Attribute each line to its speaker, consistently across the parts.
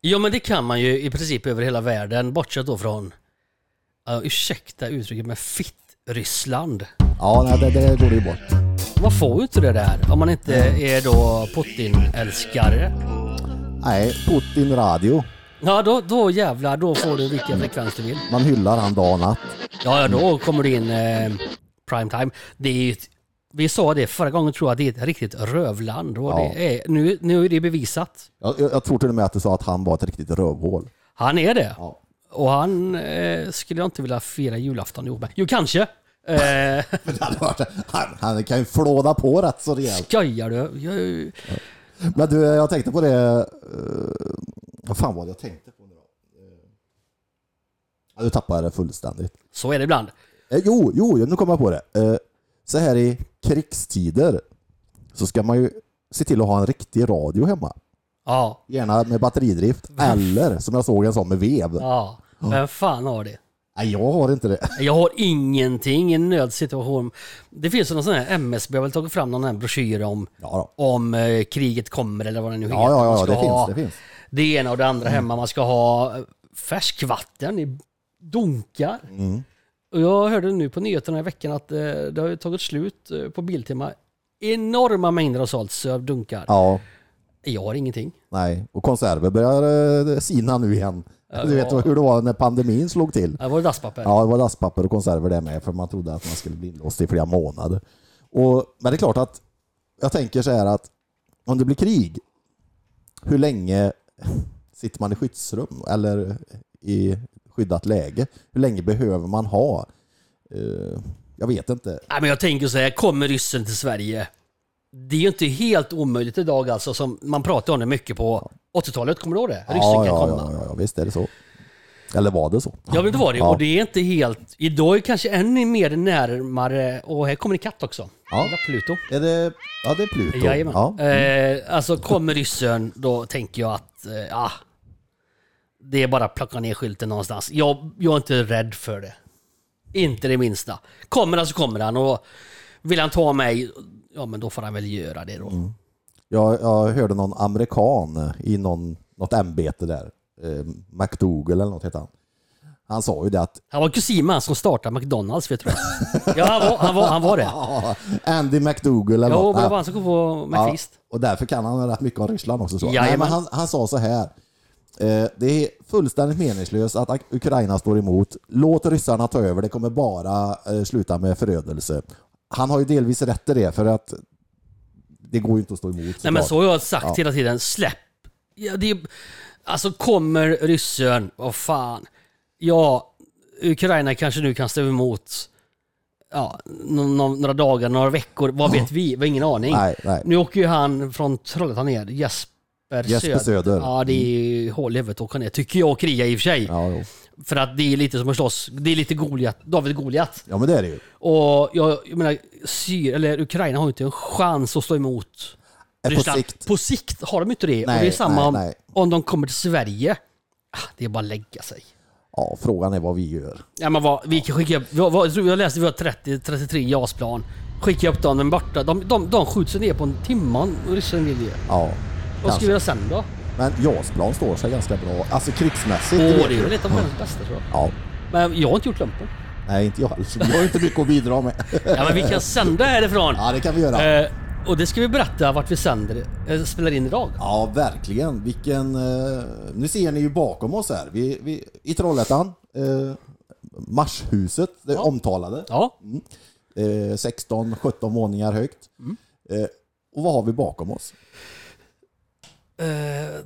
Speaker 1: Ja men det kan man ju i princip över hela världen, bortsett då från, uh, ursäkta uttrycket, men fitt-Ryssland.
Speaker 2: Ja, nej, det, det går ju bort.
Speaker 1: Man får ju inte det där om man inte är då Putin-älskare.
Speaker 2: Nej, Putin radio.
Speaker 1: Ja då, då jävlar, då får du vilken frekvens du vill.
Speaker 2: Man hyllar han dag och natt.
Speaker 1: Ja, ja då kommer du in eh, prime time. Det är ju ett, vi sa det förra gången tror jag, att det är ett riktigt rövland. Och
Speaker 2: Ja.
Speaker 1: det är, nu, nu är det bevisat.
Speaker 2: Jag, jag, jag tror till och med att du sa att han var ett riktigt rövhål.
Speaker 1: Han är det.
Speaker 2: Ja.
Speaker 1: Och han eh, skulle jag inte vilja fira julafton ihop med. Jo, kanske. Eh,
Speaker 2: Men han, var- han, han kan ju flåda på rätt så rejält.
Speaker 1: skojar du? Jag,
Speaker 2: Men du, jag tänkte på det... eh, vad fan var det jag tänkte på nu då? Eh, ja, du tappade det fullständigt.
Speaker 1: så är det ibland.
Speaker 2: Eh, jo, jo, nu kommer jag på det. Eh, så här i krigstider så ska man ju se till att ha en riktig radio hemma.
Speaker 1: Ja,
Speaker 2: Gärna med batteridrift eller som jag såg en sån med vev.
Speaker 1: ja. Vem fan har det?
Speaker 2: Nej, jag har inte det.
Speaker 1: Jag har ingenting i en nödsituation. Det finns ju någon sån här MSB har väl tagit fram någon här broschyr om,
Speaker 2: Ja, då.
Speaker 1: om eh, kriget kommer eller vad det nu heter.
Speaker 2: ja, ja,
Speaker 1: Man
Speaker 2: ja
Speaker 1: ska
Speaker 2: det,
Speaker 1: ha
Speaker 2: finns, Mm. det finns.
Speaker 1: det ena och det andra hemma. Man ska ha eh, färskvatten i dunkar.
Speaker 2: Mm.
Speaker 1: Och jag hörde nu på nyheterna i veckan att eh, det har ju tagit slut eh, på Biltema. Enorma mängder har sålts av dunkar.
Speaker 2: Ja,
Speaker 1: Jag har ingenting.
Speaker 2: nej. Och konserver börjar eh, sina nu igen. Du
Speaker 1: ja.
Speaker 2: vet hur det var när pandemin slog till.
Speaker 1: Det var det dasspapper.
Speaker 2: Ja, det var dasspapper och konserver det med, för man trodde att man skulle bli inlåst i flera månader. Och, men det är klart att jag tänker så här att om det blir krig, hur länge sitter man i skyddsrum eller i skyddat läge? Hur länge behöver man ha? Eh, jag vet inte.
Speaker 1: Nej, men jag tänker så här, kommer ryssen till Sverige? Det är ju inte helt omöjligt idag alltså, som man pratar om det mycket på 80-talet, kommer du ihåg det? Ryssen
Speaker 2: Ja,
Speaker 1: kan
Speaker 2: ja,
Speaker 1: komma.
Speaker 2: ja, ja, ja, visst är det så. Eller var det så?
Speaker 1: Ja, men det var det.
Speaker 2: Ja.
Speaker 1: Och det är inte helt... Idag är kanske ännu mer närmare... Och här kommer en katt också.
Speaker 2: Ja.
Speaker 1: Lilla Pluto.
Speaker 2: Är det, ja, det är Pluto.
Speaker 1: Jajamän.
Speaker 2: Ja.
Speaker 1: Eh, alltså kommer ryssen, då tänker jag att... Eh, ja, det är bara att plocka ner skylten någonstans. Jag, jag är inte rädd för det. Inte det minsta. Kommer han så kommer han. Och vill han ta mig, ja men då får han väl göra det då.
Speaker 2: Mm. Jag, jag hörde någon amerikan i någon, något ämbete där, eh, McDougall eller något hette han. Han sa ju det att
Speaker 1: Han var kusin med han som startade McDonalds, vet du det? Ja, han var, han var, han var det.
Speaker 2: ah, Andy McDougall eller
Speaker 1: Jo,
Speaker 2: något.
Speaker 1: men det var
Speaker 2: Ja,
Speaker 1: han som kom på
Speaker 2: ja,
Speaker 1: McFist.
Speaker 2: och därför kan han rätt mycket om Ryssland också. Så. Nej,
Speaker 1: Jajamän.
Speaker 2: men han, han sa så här. Eh, det är fullständigt meningslöst att Ak- Ukraina står emot. Låt ryssarna ta över. Det kommer bara eh, sluta med förödelse. Han har ju delvis rätt i det för att det går ju inte att stå emot.
Speaker 1: Nej men
Speaker 2: såklart.
Speaker 1: så har jag sagt hela tiden, släpp. Ja, det är, alltså kommer ryssen, vad fan. Ja, Ukraina kanske nu kan stå emot ja, nå- nå- några dagar, några veckor, vad vet vi? Vi har ingen aning.
Speaker 2: Nej, nej.
Speaker 1: Nu åker ju han från Trollhättan ner, Jesper,
Speaker 2: Jesper Söder. Mm.
Speaker 1: Ja, det är ju hål i huvudet att åka ner, tycker jag och kriga i och för sig.
Speaker 2: Ja, jo.
Speaker 1: För att det är lite som att slåss, det är lite Goliat, David Goliat.
Speaker 2: ja men det är det ju.
Speaker 1: Och jag, jag menar, Syr, eller Ukraina har ju inte en chans att stå emot
Speaker 2: Eh, På
Speaker 1: Ryssland.
Speaker 2: sikt.
Speaker 1: På sikt har de inte det. och
Speaker 2: Nej,
Speaker 1: det är samma
Speaker 2: nej,
Speaker 1: om,
Speaker 2: nej.
Speaker 1: om de kommer till Sverige. Ah, Det är bara att lägga sig.
Speaker 2: Ja, frågan är vad vi gör.
Speaker 1: Ja, men vad, vi kan skicka, vi har, vad, jag tror jag läste vi har 30, 33 JAS-plan. Skicka upp dem, men borta. De, de, de skjuts ner på en timme om ryssen vill ju.
Speaker 2: Ja,
Speaker 1: Vad
Speaker 2: kanske.
Speaker 1: ska vi göra sen då?
Speaker 2: Men JAS-plan står sig ganska bra. Alltså krigsmässigt.
Speaker 1: Åh,
Speaker 2: det vet
Speaker 1: det är
Speaker 2: du.
Speaker 1: väl ett av världens bästa tror jag.
Speaker 2: Ja,
Speaker 1: Men jag har inte gjort lumpen.
Speaker 2: nej inte jag alls. Vi har ju inte mycket att bidra med.
Speaker 1: Ja, men vi kan sända härifrån.
Speaker 2: Ja, det kan vi göra.
Speaker 1: Eh, och det ska vi berätta vart vi sänder, eh, spelar in idag.
Speaker 2: Ja, verkligen. Vilken... Eh, nu ser ni ju bakom oss här. Vi, vi, I Trollhättan. Eh, Marshuset, det omtalade.
Speaker 1: Ja,
Speaker 2: Eh, 16-17 våningar högt.
Speaker 1: Mm.
Speaker 2: Eh, och vad har vi bakom oss?
Speaker 1: Eh,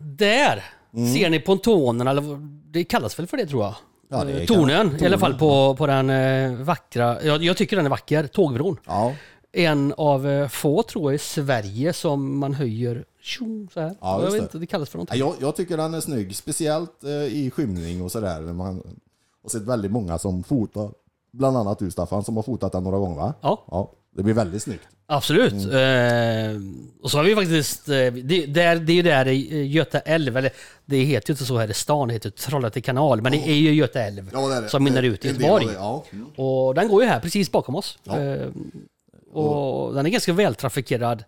Speaker 1: där
Speaker 2: Mm.
Speaker 1: ser ni pontonerna, eller vad- det kallas väl för det tror jag?
Speaker 2: Ja, det
Speaker 1: Eh,
Speaker 2: kan-
Speaker 1: Tornen, i alla
Speaker 2: tornen.
Speaker 1: fall på, på den eh, vackra, jag, jag tycker den är vacker, tågbron.
Speaker 2: Ja,
Speaker 1: En av eh, få tror jag i Sverige som man höjer tjo, så här.
Speaker 2: Ja,
Speaker 1: jag
Speaker 2: just
Speaker 1: vet
Speaker 2: det.
Speaker 1: inte, det kallas för
Speaker 2: Nej,
Speaker 1: någonting.
Speaker 2: jag, jag tycker den är snygg. Speciellt eh, i skymning och sådär. när Man har sett väldigt många som fotar. Bland annat du Staffan som har fotat den några gånger va?
Speaker 1: Ja.
Speaker 2: ja det blir väldigt snyggt.
Speaker 1: Absolut.
Speaker 2: Mm.
Speaker 1: Eh, och så har vi faktiskt, eh, det, där, det är ju där i eh, Göta älv, eller det heter ju inte så här i stan, det heter Trollhätte kanal, men det är ju Göta älv som mynnar ut i Göteborg.
Speaker 2: Ja.
Speaker 1: Och den går ju här precis bakom oss.
Speaker 2: Ja.
Speaker 1: Eh, och den är ganska vältrafikerad,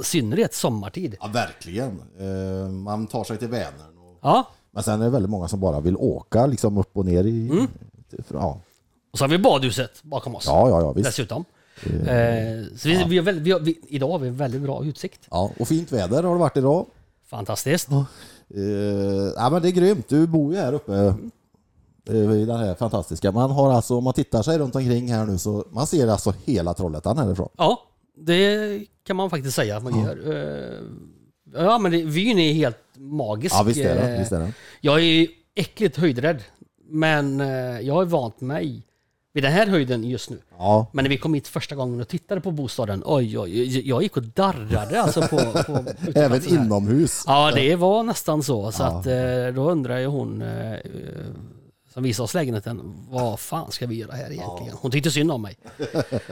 Speaker 1: i synnerhet sommartid.
Speaker 2: verkligen. Eh, man tar sig till Vänern. Och
Speaker 1: Ja,
Speaker 2: Men sen är det väldigt många som bara vill åka liksom upp och ner i...
Speaker 1: Mm.
Speaker 2: Ja.
Speaker 1: Och så har vi badhuset bakom oss
Speaker 2: ja, ja, ja, visst.
Speaker 1: dessutom. Eh, så vi, vi har väl, vi har, vi, idag har vi en väldigt bra utsikt.
Speaker 2: Ja, och fint väder har det varit idag.
Speaker 1: Fantastiskt.
Speaker 2: Eh, ja, men det är grymt. Du bor ju här uppe eh, i den här fantastiska. Man har alltså, om man tittar sig runt omkring här nu så man ser alltså hela Trollhättan härifrån.
Speaker 1: Ja, det kan man faktiskt säga att man gör. Eh, Ja, men det- vyn är helt magisk.
Speaker 2: Ja, visst är den.
Speaker 1: Eh,
Speaker 2: Visst är den.
Speaker 1: Jag är ju äckligt höjdrädd, men eh, jag har vant mig vid den här höjden just nu.
Speaker 2: Ja,
Speaker 1: Men när vi kom hit första gången och tittade på bostaden, oj, oj, oj, jag gick och darrade alltså på, på uteplatsen
Speaker 2: även
Speaker 1: här.
Speaker 2: inomhus.
Speaker 1: Ja, det var nästan så. Så att eh, då undrar ju hon eh, eh, som visade oss lägenheten, vad fan ska vi göra här egentligen? Hon tyckte synd om mig.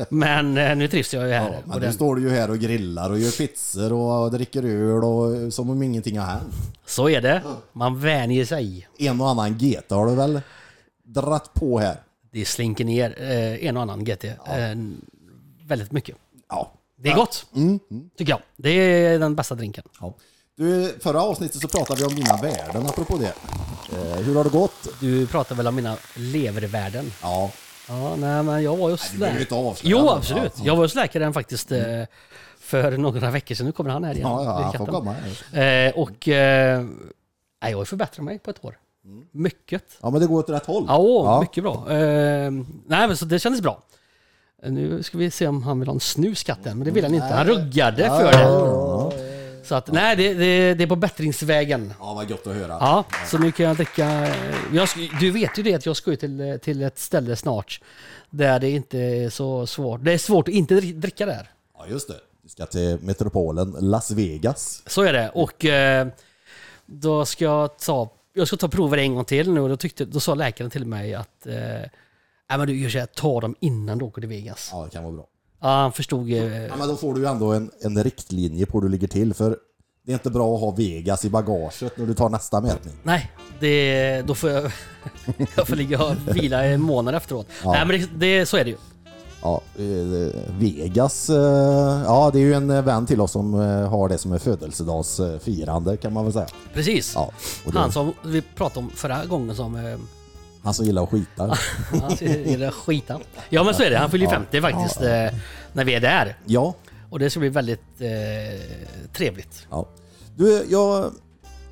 Speaker 1: Men eh, nu trivs jag ju här.
Speaker 2: Men
Speaker 1: och
Speaker 2: nu
Speaker 1: den,
Speaker 2: står du ju här och grillar och gör pizzor och dricker öl och eh, som om ingenting har hänt.
Speaker 1: så är det. Man vänjer sig.
Speaker 2: En och annan GT har du väl dratt på här?
Speaker 1: Det slinker ner eh, en och annan GT. Eh, väldigt mycket.
Speaker 2: Ja. Mm,
Speaker 1: Det är gott, tycker jag. Det är den bästa drinken.
Speaker 2: ja. Du, förra avsnittet så pratade vi om dina värden apropå det. Eh, hur har det gått?
Speaker 1: Du pratar väl om mina levervärden?
Speaker 2: Ja,
Speaker 1: Ja, nej, men jag var ju hos
Speaker 2: du behöver inte
Speaker 1: läkaren.
Speaker 2: avslöja
Speaker 1: Jo,
Speaker 2: något.
Speaker 1: absolut.
Speaker 2: Ja.
Speaker 1: Jag var hos läkaren faktiskt eh, för några veckor sedan. Nu kommer han här igen.
Speaker 2: ja, ja han
Speaker 1: Katten.
Speaker 2: får komma. här.
Speaker 1: Eh, och eh, nej, jag har ju förbättrat mig på ett år. Mycket.
Speaker 2: Ja, men det går åt rätt håll.
Speaker 1: Ja, åh,
Speaker 2: Mm. ja.
Speaker 1: mycket bra. Eh, nej, men så det kändes bra. Eh, Nu ska vi se om han vill ha en snus katten, men det vill han inte. Han ruggade för det.
Speaker 2: Ja,
Speaker 1: Så att, nej, det, det, det är på bättringsvägen.
Speaker 2: Ja, vad gott att höra.
Speaker 1: Ja, så nu kan jag dricka... eh, Jag, ska- du vet ju det att jag ska ju till, eh, till ett ställe snart där det inte är så svårt. Det är svårt att inte dri- dricka där.
Speaker 2: Ja, just det. Vi ska till metropolen Las Vegas.
Speaker 1: Så är det. Och eh, då ska jag ta, jag ska ta prover en gång till nu och då, tyckte, då sa läkaren till mig att eh, Nej men du gör så här, ta dem innan du åker till Vegas.
Speaker 2: Ja, det kan vara bra.
Speaker 1: Ja, han förstod eh,
Speaker 2: Ja, men då får du ju ändå en, en riktlinje på hur du ligger till, för det är inte bra att ha Vegas i bagaget när du tar nästa mätning.
Speaker 1: Nej, det, då får jag, jag får ligga och vila en månad efteråt. Nej men det, det, så är det ju.
Speaker 2: Ja, eh, Vegas, eh, ja det är ju en eh, vän till oss som eh, har det som en födelsedagsfirande kan man väl säga.
Speaker 1: Precis.
Speaker 2: Ja, och det,
Speaker 1: Han som vi pratade om förra gången som eh,
Speaker 2: han som gillar att skita.
Speaker 1: han ser skita. Ja men så är det, han fyller ju 50 faktiskt eh, när vi är där.
Speaker 2: Ja,
Speaker 1: Och det ska bli väldigt eh, trevligt.
Speaker 2: Ja. Du, jag,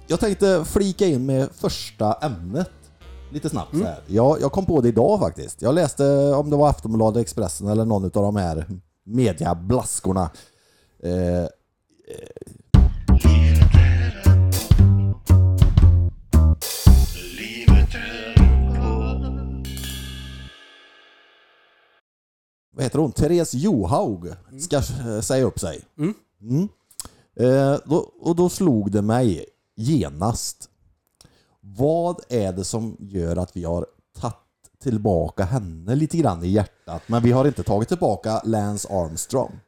Speaker 2: jag tänkte flika in med första ämnet lite snabbt så här. Jag, jag kom på det idag faktiskt. Jag läste om det var Aftonbladet, Expressen eller någon av de här mediablaskorna. Eh, eh. Vad heter hon? Therese Johaug ska eh, säga upp sig. Mm. Eh, då, och då slog det mig genast. Vad är det som gör att vi har tagit tillbaka henne lite grann i hjärtat, men vi har inte tagit tillbaka Lance Armstrong?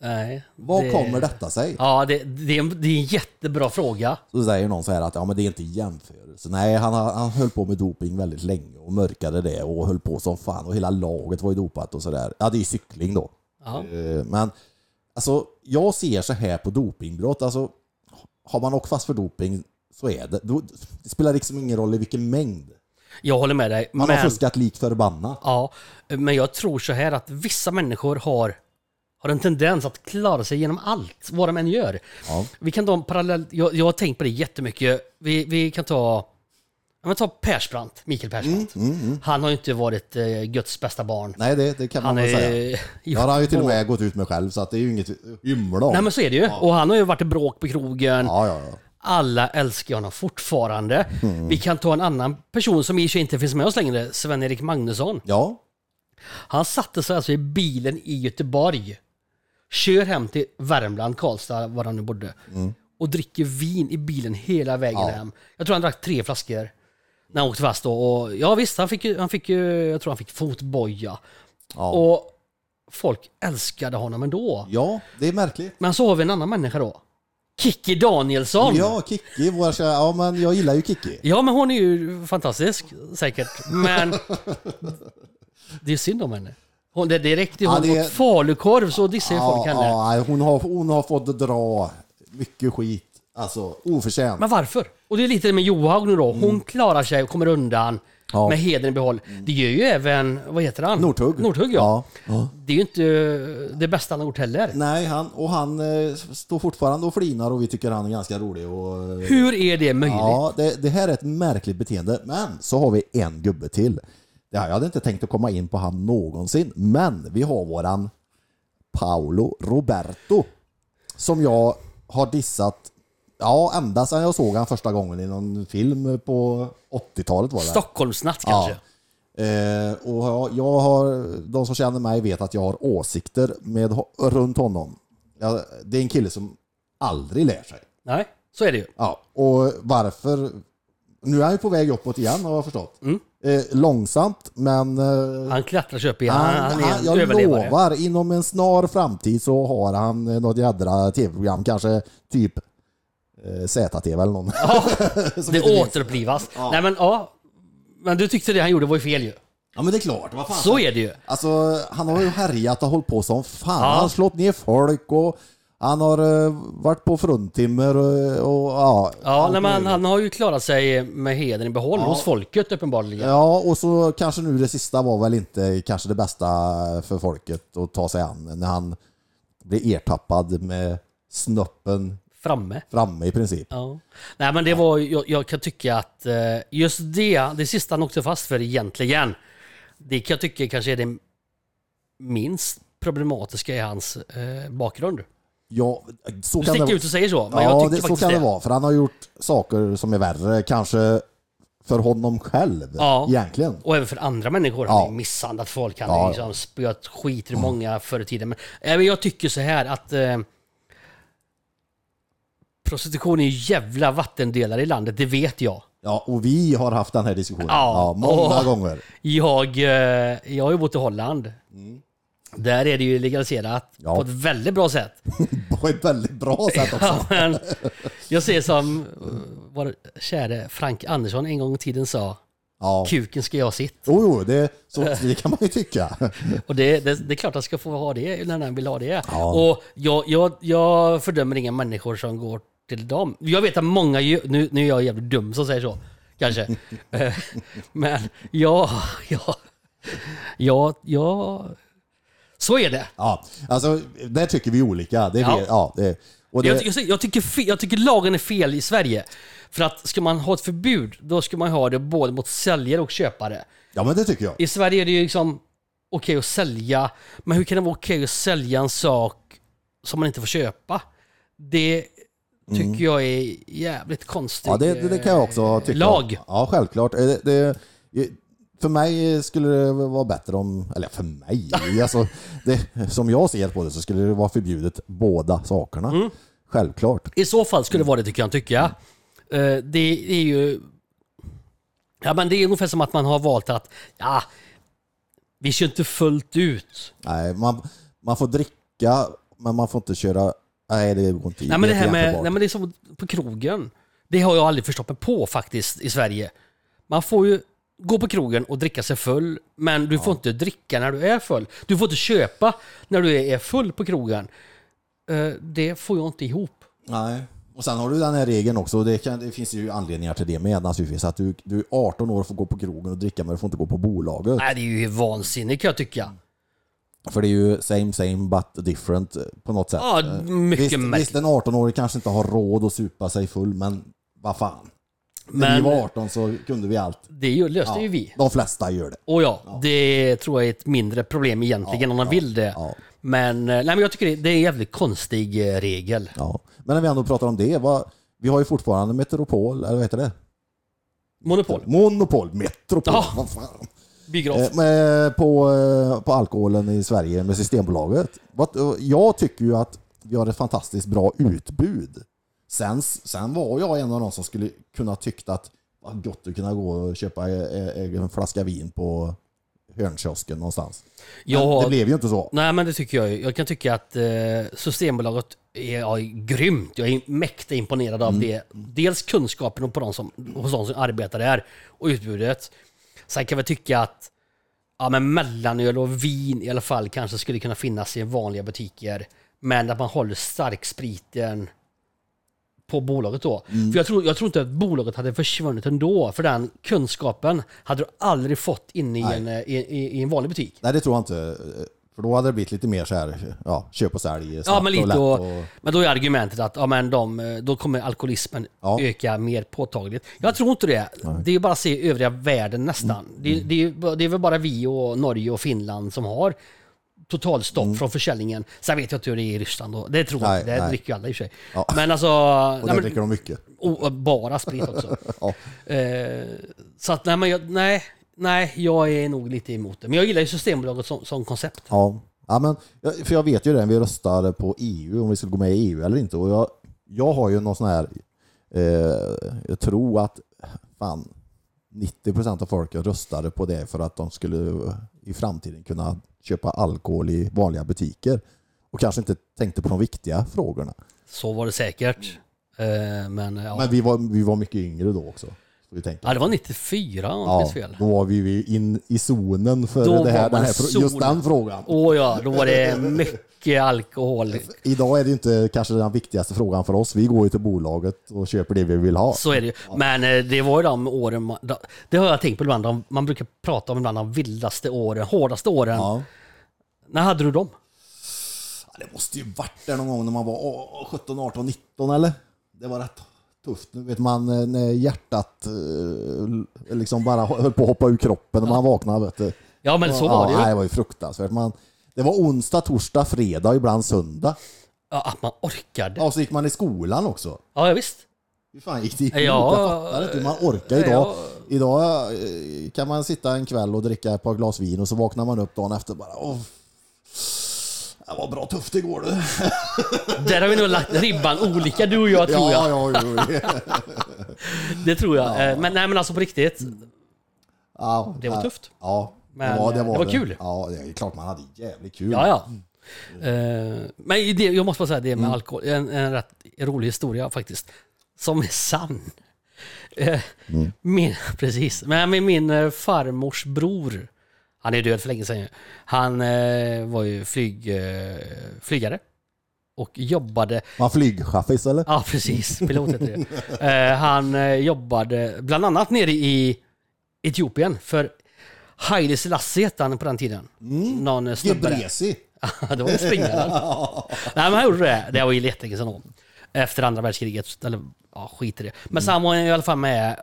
Speaker 1: Nej,
Speaker 2: Vad kommer detta sig?
Speaker 1: Ja, det, det, är en, det är en jättebra fråga.
Speaker 2: Så säger någon så här att ja, men det är inte jämförelse. Nej, han, har- han höll på med doping väldigt länge och mörkade det och höll på som fan och hela laget var ju dopat och sådär. Ja, det är cykling då.
Speaker 1: Ja.
Speaker 2: Eh, Men alltså, jag ser så här på dopingbrott. Alltså, har man åkt fast för doping så är det. då- Det spelar liksom ingen roll i vilken mängd.
Speaker 1: Jag håller med dig.
Speaker 2: Man
Speaker 1: Men,
Speaker 2: har fuskat lik förbannat.
Speaker 1: ja, men jag tror så här att vissa människor har, har en tendens att klara sig genom allt, vad de än gör.
Speaker 2: Ja.
Speaker 1: Vi kan ta en parallell, jag, jag har tänkt på det jättemycket. Vi, vi kan ta, ja, men ta Persbrandt, Mikael Persbrandt. Han har ju inte varit eh, Guds bästa barn.
Speaker 2: Mm, Nej, det, det kan man
Speaker 1: Han
Speaker 2: väl
Speaker 1: är...
Speaker 2: säga.
Speaker 1: Ja,
Speaker 2: Jag har han ju till och med gått ut med själv, så att det är ju inget att hymla om.
Speaker 1: Nej men så är det ju. Och han har ju varit i bråk på krogen.
Speaker 2: Ja, ja, ja.
Speaker 1: Alla älskar honom fortfarande. Vi kan ta en annan person som i och för sig inte finns med oss längre, Sven-Erik Magnusson.
Speaker 2: ja.
Speaker 1: Han satte sig alltså i bilen i Göteborg, kör hem till Värmland, Karlstad, var han nu bodde, och dricker vin i bilen hela vägen hem. Jag tror han drack tre flaskor när han åkte fast då. Och, ja visst, han fick, ju- han fick ju, jag tror han fick fotboja.
Speaker 2: Ja.
Speaker 1: Och folk älskade honom ändå.
Speaker 2: ja, det är märkligt.
Speaker 1: Men så har vi en annan människa då. Kikki Danielsson.
Speaker 2: Ja, Kikki, vår kära... Ja, men jag gillar ju Kikki.
Speaker 1: Ja, men hon är ju fantastisk säkert. Men det är synd om henne. Hon, det är direkt hon
Speaker 2: Ja, det-
Speaker 1: åt falukorv så dissar ju folk
Speaker 2: Ja,
Speaker 1: henne.
Speaker 2: ja, hon, har, hon har fått dra mycket skit. Alltså, oförtjänt.
Speaker 1: Men varför? Och det är lite det med Johaug nu då. Hon klarar sig och kommer undan
Speaker 2: Mm. Ja. Mm.
Speaker 1: med hedern i behåll. Det gör ju även, vad heter han?
Speaker 2: Northug.
Speaker 1: Northug ja.
Speaker 2: Ja, ja.
Speaker 1: Det är ju inte det bästa han har gjort heller.
Speaker 2: Nej, han, och han eh, står fortfarande och flinar och vi tycker han är ganska rolig. Och, eh,
Speaker 1: Hur är det möjligt?
Speaker 2: ja, det, det här är ett märkligt beteende. Men så har vi en gubbe till. Det här, jag hade inte tänkt att komma in på han någonsin, men vi har våran Paolo Roberto. Som jag har dissat, ja ända sedan jag såg han första gången i någon film på 80-talet var det.
Speaker 1: Stockholmsnatt kanske?
Speaker 2: Eh, och jag, jag har, de som känner mig vet att jag har åsikter med, ho- runt honom. Jag, det är en kille som aldrig lär sig.
Speaker 1: Nej, så är det ju.
Speaker 2: Ja, och varför? Nu är han ju på väg uppåt igen har jag förstått.
Speaker 1: Mm.
Speaker 2: Eh, långsamt, men eh,
Speaker 1: Han klättrar sig upp igen. Han,
Speaker 2: han,
Speaker 1: han,
Speaker 2: han,
Speaker 1: är en
Speaker 2: jag
Speaker 1: överlevare.
Speaker 2: lovar, inom en snar framtid så har han eh, något jädra tv-program, kanske typ eh, ZTV eller någon. Som
Speaker 1: Det
Speaker 2: inte finns.
Speaker 1: återupplivas. Nej men ja. Men du tyckte det han gjorde var ju fel ju.
Speaker 2: Ja men det är klart, vad fan ska
Speaker 1: Så är det ju.
Speaker 2: Alltså, han har ju härjat och hållit på som fan.
Speaker 1: Ja.
Speaker 2: Han har slått ner folk och han har eh, varit på fruntimmer och, och ja.
Speaker 1: Ja, nej, men han har ju klarat sig med hedern i behåll hos folket uppenbarligen.
Speaker 2: Ja, och så kanske nu det sista var väl inte kanske det bästa för folket att ta sig an när han blev ertappad med snoppen
Speaker 1: Framme.
Speaker 2: framme i princip.
Speaker 1: Ja. Nej men det var, ju- jag, jag kan tycka att eh, just det, det sista han åkte fast för egentligen, det kan jag tycka kanske är det minst problematiska i hans eh, bakgrund.
Speaker 2: Ja, så
Speaker 1: Du
Speaker 2: kan det
Speaker 1: sticker
Speaker 2: vara.
Speaker 1: ut och säger så, men jag
Speaker 2: Ja,
Speaker 1: tycker
Speaker 2: det, så
Speaker 1: faktiskt
Speaker 2: kan det
Speaker 1: det.
Speaker 2: vara. För han har gjort saker som är värre kanske för honom själv
Speaker 1: Ja.
Speaker 2: egentligen.
Speaker 1: Och även för andra människor. Han
Speaker 2: Ja.
Speaker 1: har ju misshandlat folk, han
Speaker 2: Ja, Mm.
Speaker 1: har
Speaker 2: ja.
Speaker 1: ju liksom spöat skit i många förr i tiden. Men även jag tycker så här att eh, prostitution är ju jävla vattendelare i landet, det vet jag.
Speaker 2: Ja, och vi har haft den här diskussionen ja.
Speaker 1: Ja.
Speaker 2: många
Speaker 1: Åh.
Speaker 2: gånger.
Speaker 1: Jag, eh, jag har ju bott i Holland. Där är det ju legaliserat
Speaker 2: Mm. Ja.
Speaker 1: på ett väldigt bra sätt.
Speaker 2: På ett väldigt bra sätt också.
Speaker 1: Ja, men jag ser som eh, vår käre Frank Andersson en gång i tiden sa,
Speaker 2: Ja.
Speaker 1: kuken ska jag sitt.
Speaker 2: Jo, jo, det, så, det kan man ju tycka.
Speaker 1: Och det, det, det är klart han ska få ha det när han vill ha det.
Speaker 2: Ja.
Speaker 1: Och jag, jag, jag fördömer inga människor som går till dem. Jag vet att många, ju- nu, nu är jag jävligt dum som säger så, kanske. Eh, Men ja, ja, ja, ja, så är det.
Speaker 2: Ja, alltså, där tycker vi olika. Det, är
Speaker 1: Ja.
Speaker 2: vi- ja, det, och
Speaker 1: Jag,
Speaker 2: det,
Speaker 1: jag, jag, tycker, fe- jag tycker lagen är fel i Sverige. För att ska man ha ett förbud, då ska man ha det både mot säljare och köpare.
Speaker 2: ja, men det tycker jag.
Speaker 1: I Sverige är det ju liksom okej att sälja, men hur kan det vara okej att sälja en sak som man inte får köpa? Det tycker jag är jävligt konstigt.
Speaker 2: Mm.
Speaker 1: Eh,
Speaker 2: Ja, det, det, det kan jag också tycka.
Speaker 1: Lag.
Speaker 2: Ja, självklart. Eh, Det, det, för mig skulle det vara bättre om, eller för mig, alltså, det, som jag ser på det så skulle det vara förbjudet båda sakerna.
Speaker 1: Mm.
Speaker 2: Självklart.
Speaker 1: I så fall
Speaker 2: Mm.
Speaker 1: skulle det vara det tycker jag. Tycker jag. Eh, det är ju... Ja, men det är ungefär som att man har valt att, ja, vi kör inte fullt ut.
Speaker 2: Nej, man, man får dricka, men man får inte köra. Nej, det går inte.
Speaker 1: Nej men det här
Speaker 2: är
Speaker 1: med,
Speaker 2: jämförbart.
Speaker 1: nej, men det är som på krogen. Det har jag aldrig förstått mig på faktiskt i Sverige. Man får ju gå på krogen och dricka sig full, men du får inte dricka när du är full. Du får inte köpa när du är full på krogen. Eh, Det får jag inte ihop.
Speaker 2: Nej. Och sen har du den här regeln också, och det, kan, det finns ju anledningar till det med naturligtvis. Att du, du är 18 år och får gå på krogen och dricka men du får inte gå på bolaget.
Speaker 1: Nej, det är ju vansinnigt kan jag tycka.
Speaker 2: För det är ju same same but different eh, på något sätt.
Speaker 1: Ja, mycket
Speaker 2: visst,
Speaker 1: märkligt.
Speaker 2: visst, en 18-åring kanske inte har råd att supa sig full men vad fan. När vi
Speaker 1: Men-
Speaker 2: var 18 så kunde vi allt.
Speaker 1: Det är ju- löste ju vi.
Speaker 2: De flesta gör det.
Speaker 1: Och ja, det tror jag är ett mindre problem egentligen om man vill det.
Speaker 2: ja.
Speaker 1: Men, eh, nej, men jag tycker det- det är en jävligt konstig eh, regel.
Speaker 2: Ja. Men när vi ändå pratar om det, vad, vi har ju fortfarande Metropol, eller vad heter det?
Speaker 1: Monopol,
Speaker 2: Monopol, Metropol,
Speaker 1: Ja.
Speaker 2: vad fan.
Speaker 1: biograf.
Speaker 2: Eh, med- på, eh, på alkoholen i Sverige med Systembolaget. Vad- eh, Jag tycker ju att vi har ett fantastiskt bra utbud. Sen, sen var jag en av de som skulle kunna tyckt att vad gott att kunna gå och köpa eh, eh, en flaska vin på hörnkiosken någonstans. Men
Speaker 1: Jag har-
Speaker 2: Det blev ju inte så.
Speaker 1: Nej, men det tycker jag. ju. Jag kan tycka att eh, Systembolaget är ja, grymt. Jag är mäkta imponerad av det. Dels kunskapen och på de som, hos de som arbetar där och utbudet. Sen kan jag väl tycka att ja, men mellanöl och vin i alla fall kanske skulle kunna finnas i vanliga butiker. Men att man håller starkspriten på bolaget då. För jag tror, jag tror inte att bolaget hade försvunnit ändå, för den kunskapen hade du aldrig fått inne i
Speaker 2: Nej.
Speaker 1: en, eh, i, i, i en vanlig butik.
Speaker 2: Nej, det tror jag inte. eh, För då hade det blivit lite mer så här, ja, köp och sälj.
Speaker 1: Ja,
Speaker 2: snabbt
Speaker 1: men, lite
Speaker 2: lätt
Speaker 1: och, men då är argumentet att ja, men de, eh, då kommer alkoholismen
Speaker 2: Ja.
Speaker 1: öka mer påtagligt. Jag tror inte det. Det är bara att se övriga världen nästan.
Speaker 2: Mm.
Speaker 1: Det, det, är, ju ba- det är väl bara vi och Norge och Finland som har totalstopp från försäljningen. Sen vet jag inte hur det är i Ryssland. Då. Det tror jag
Speaker 2: Mm. Nej,
Speaker 1: inte. Det
Speaker 2: nej.
Speaker 1: dricker ju alla i och för sig.
Speaker 2: Ja.
Speaker 1: Men alltså...
Speaker 2: Och
Speaker 1: nej,
Speaker 2: där
Speaker 1: men-
Speaker 2: dricker de mycket.
Speaker 1: och, och bara sprit också.
Speaker 2: Ja.
Speaker 1: Eh, så att nej, men jag, nej, nej, jag är nog lite emot det. Men jag gillar ju Systembolaget som, som koncept.
Speaker 2: Ja. ja men, jag- för jag vet ju det, vi röstade på EU, om vi skulle gå med i EU eller inte. Och jag, jag har ju någon sån här, eh, jag tror att fan, 90% av folket röstade på det för att de skulle i framtiden kunna köpa alkohol i vanliga butiker. Och kanske inte tänkte på de viktiga frågorna.
Speaker 1: Så var det säkert. Eh, men ja.
Speaker 2: Men vi var, vi var mycket yngre då också. Så vi tänker.
Speaker 1: Ja, det var 94 om jag
Speaker 2: Ja,
Speaker 1: minns fel.
Speaker 2: då var vi ju in i zonen
Speaker 1: Då
Speaker 2: för det
Speaker 1: var
Speaker 2: här, den
Speaker 1: man
Speaker 2: här,
Speaker 1: zonen.
Speaker 2: fr- just den frågan.
Speaker 1: Åh ja, då var det mycket alkohol.
Speaker 2: Idag är det inte kanske den viktigaste frågan för oss. Vi går ju till bolaget och köper det vi vill ha.
Speaker 1: Så är det ju. Men eh, det var ju de åren, man, da- det har jag tänkt på ibland, de- man brukar prata om ibland de vildaste åren, hårdaste åren.
Speaker 2: Ja.
Speaker 1: När hade du dem?
Speaker 2: Det måste ju varit där någon gång när man var åh, 17, 18, 19 eller? Det var rätt tufft. Nu vet man eh, när hjärtat eh, liksom bara höll på att hoppa ur kroppen när man vaknade. Vet du.
Speaker 1: Ja men så var det
Speaker 2: Ja, nej,
Speaker 1: ju.
Speaker 2: det var ju fruktansvärt. Man, det var onsdag, torsdag, fredag, ibland söndag.
Speaker 1: Ja, att man orkade.
Speaker 2: Ja, och så gick man i skolan också.
Speaker 1: Ja, ja visst.
Speaker 2: Hur fan gick det ihop?
Speaker 1: Ja,
Speaker 2: jag fattar inte hur man orkar
Speaker 1: ja.
Speaker 2: idag. Idag eh, kan man sitta en kväll och dricka ett par glas vin och så vaknar man upp dagen efter och bara Åh, det var bra tufft igår du.
Speaker 1: Där har vi nog lagt ribban olika du och jag tror jag.
Speaker 2: ja, jo, jo.
Speaker 1: Det tror jag. Eh, Men nej men alltså på riktigt.
Speaker 2: ja.
Speaker 1: Det var
Speaker 2: nej.
Speaker 1: tufft.
Speaker 2: Ja,
Speaker 1: Men, eh, det var kul.
Speaker 2: Ja, det är klart man hade jävligt kul.
Speaker 1: Ja, ja. Eh, Men det, jag måste bara säga det med alkohol, en, en rätt rolig historia faktiskt. Som är sann. Eh, Min, precis. Men med min eh, farmors bror, han är död för länge sedan ju. Han eh, var ju flyg, eh, flygare och jobbade
Speaker 2: Man flygchaffis eller?
Speaker 1: Ja, precis. Pilot heter det. Eh, han eh, jobbade bland annat nere i Etiopien för Haile Selassie hette han på den tiden. Någon snubbe där.
Speaker 2: Gebresi.
Speaker 1: Ja, det var en springare. Nej, men han gjorde det. Det var ju jättelänge sedan då. Efter andra världskriget. Eller, ja, skit i det. Men så han var i alla fall med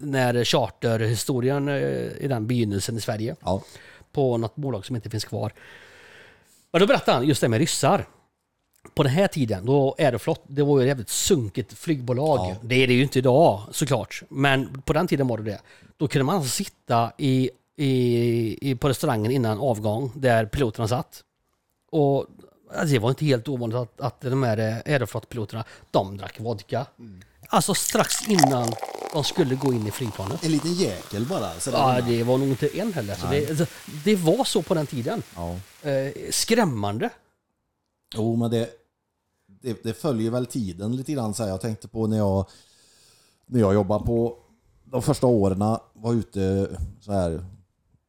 Speaker 1: när charterhistorien eh, i den begynnelsen i Sverige
Speaker 2: Ja.
Speaker 1: på något bolag som inte finns kvar. Men då berättade han just det med ryssar. På den här tiden, då Aeroflot, det var ju ett jävligt sunkigt flygbolag. Det är det ju inte idag såklart, men på den tiden var det det. Då kunde man alltså sitta i, i, i, på restaurangen innan avgång där piloterna satt. Och alltså, det var inte helt ovanligt att, att de här eh, Aeroflot-piloterna, de drack vodka. Alltså strax innan de skulle gå in i flygplanet.
Speaker 2: En liten jäkel bara. Så
Speaker 1: Ja, det var nog inte en heller. Så det, alltså, det var så på den tiden.
Speaker 2: ja.
Speaker 1: Eh, skrämmande.
Speaker 2: Jo, men det, det, det följer väl tiden lite grann. Så här. Jag tänkte på när jag, när jag jobbade på de första åren, var ute så här,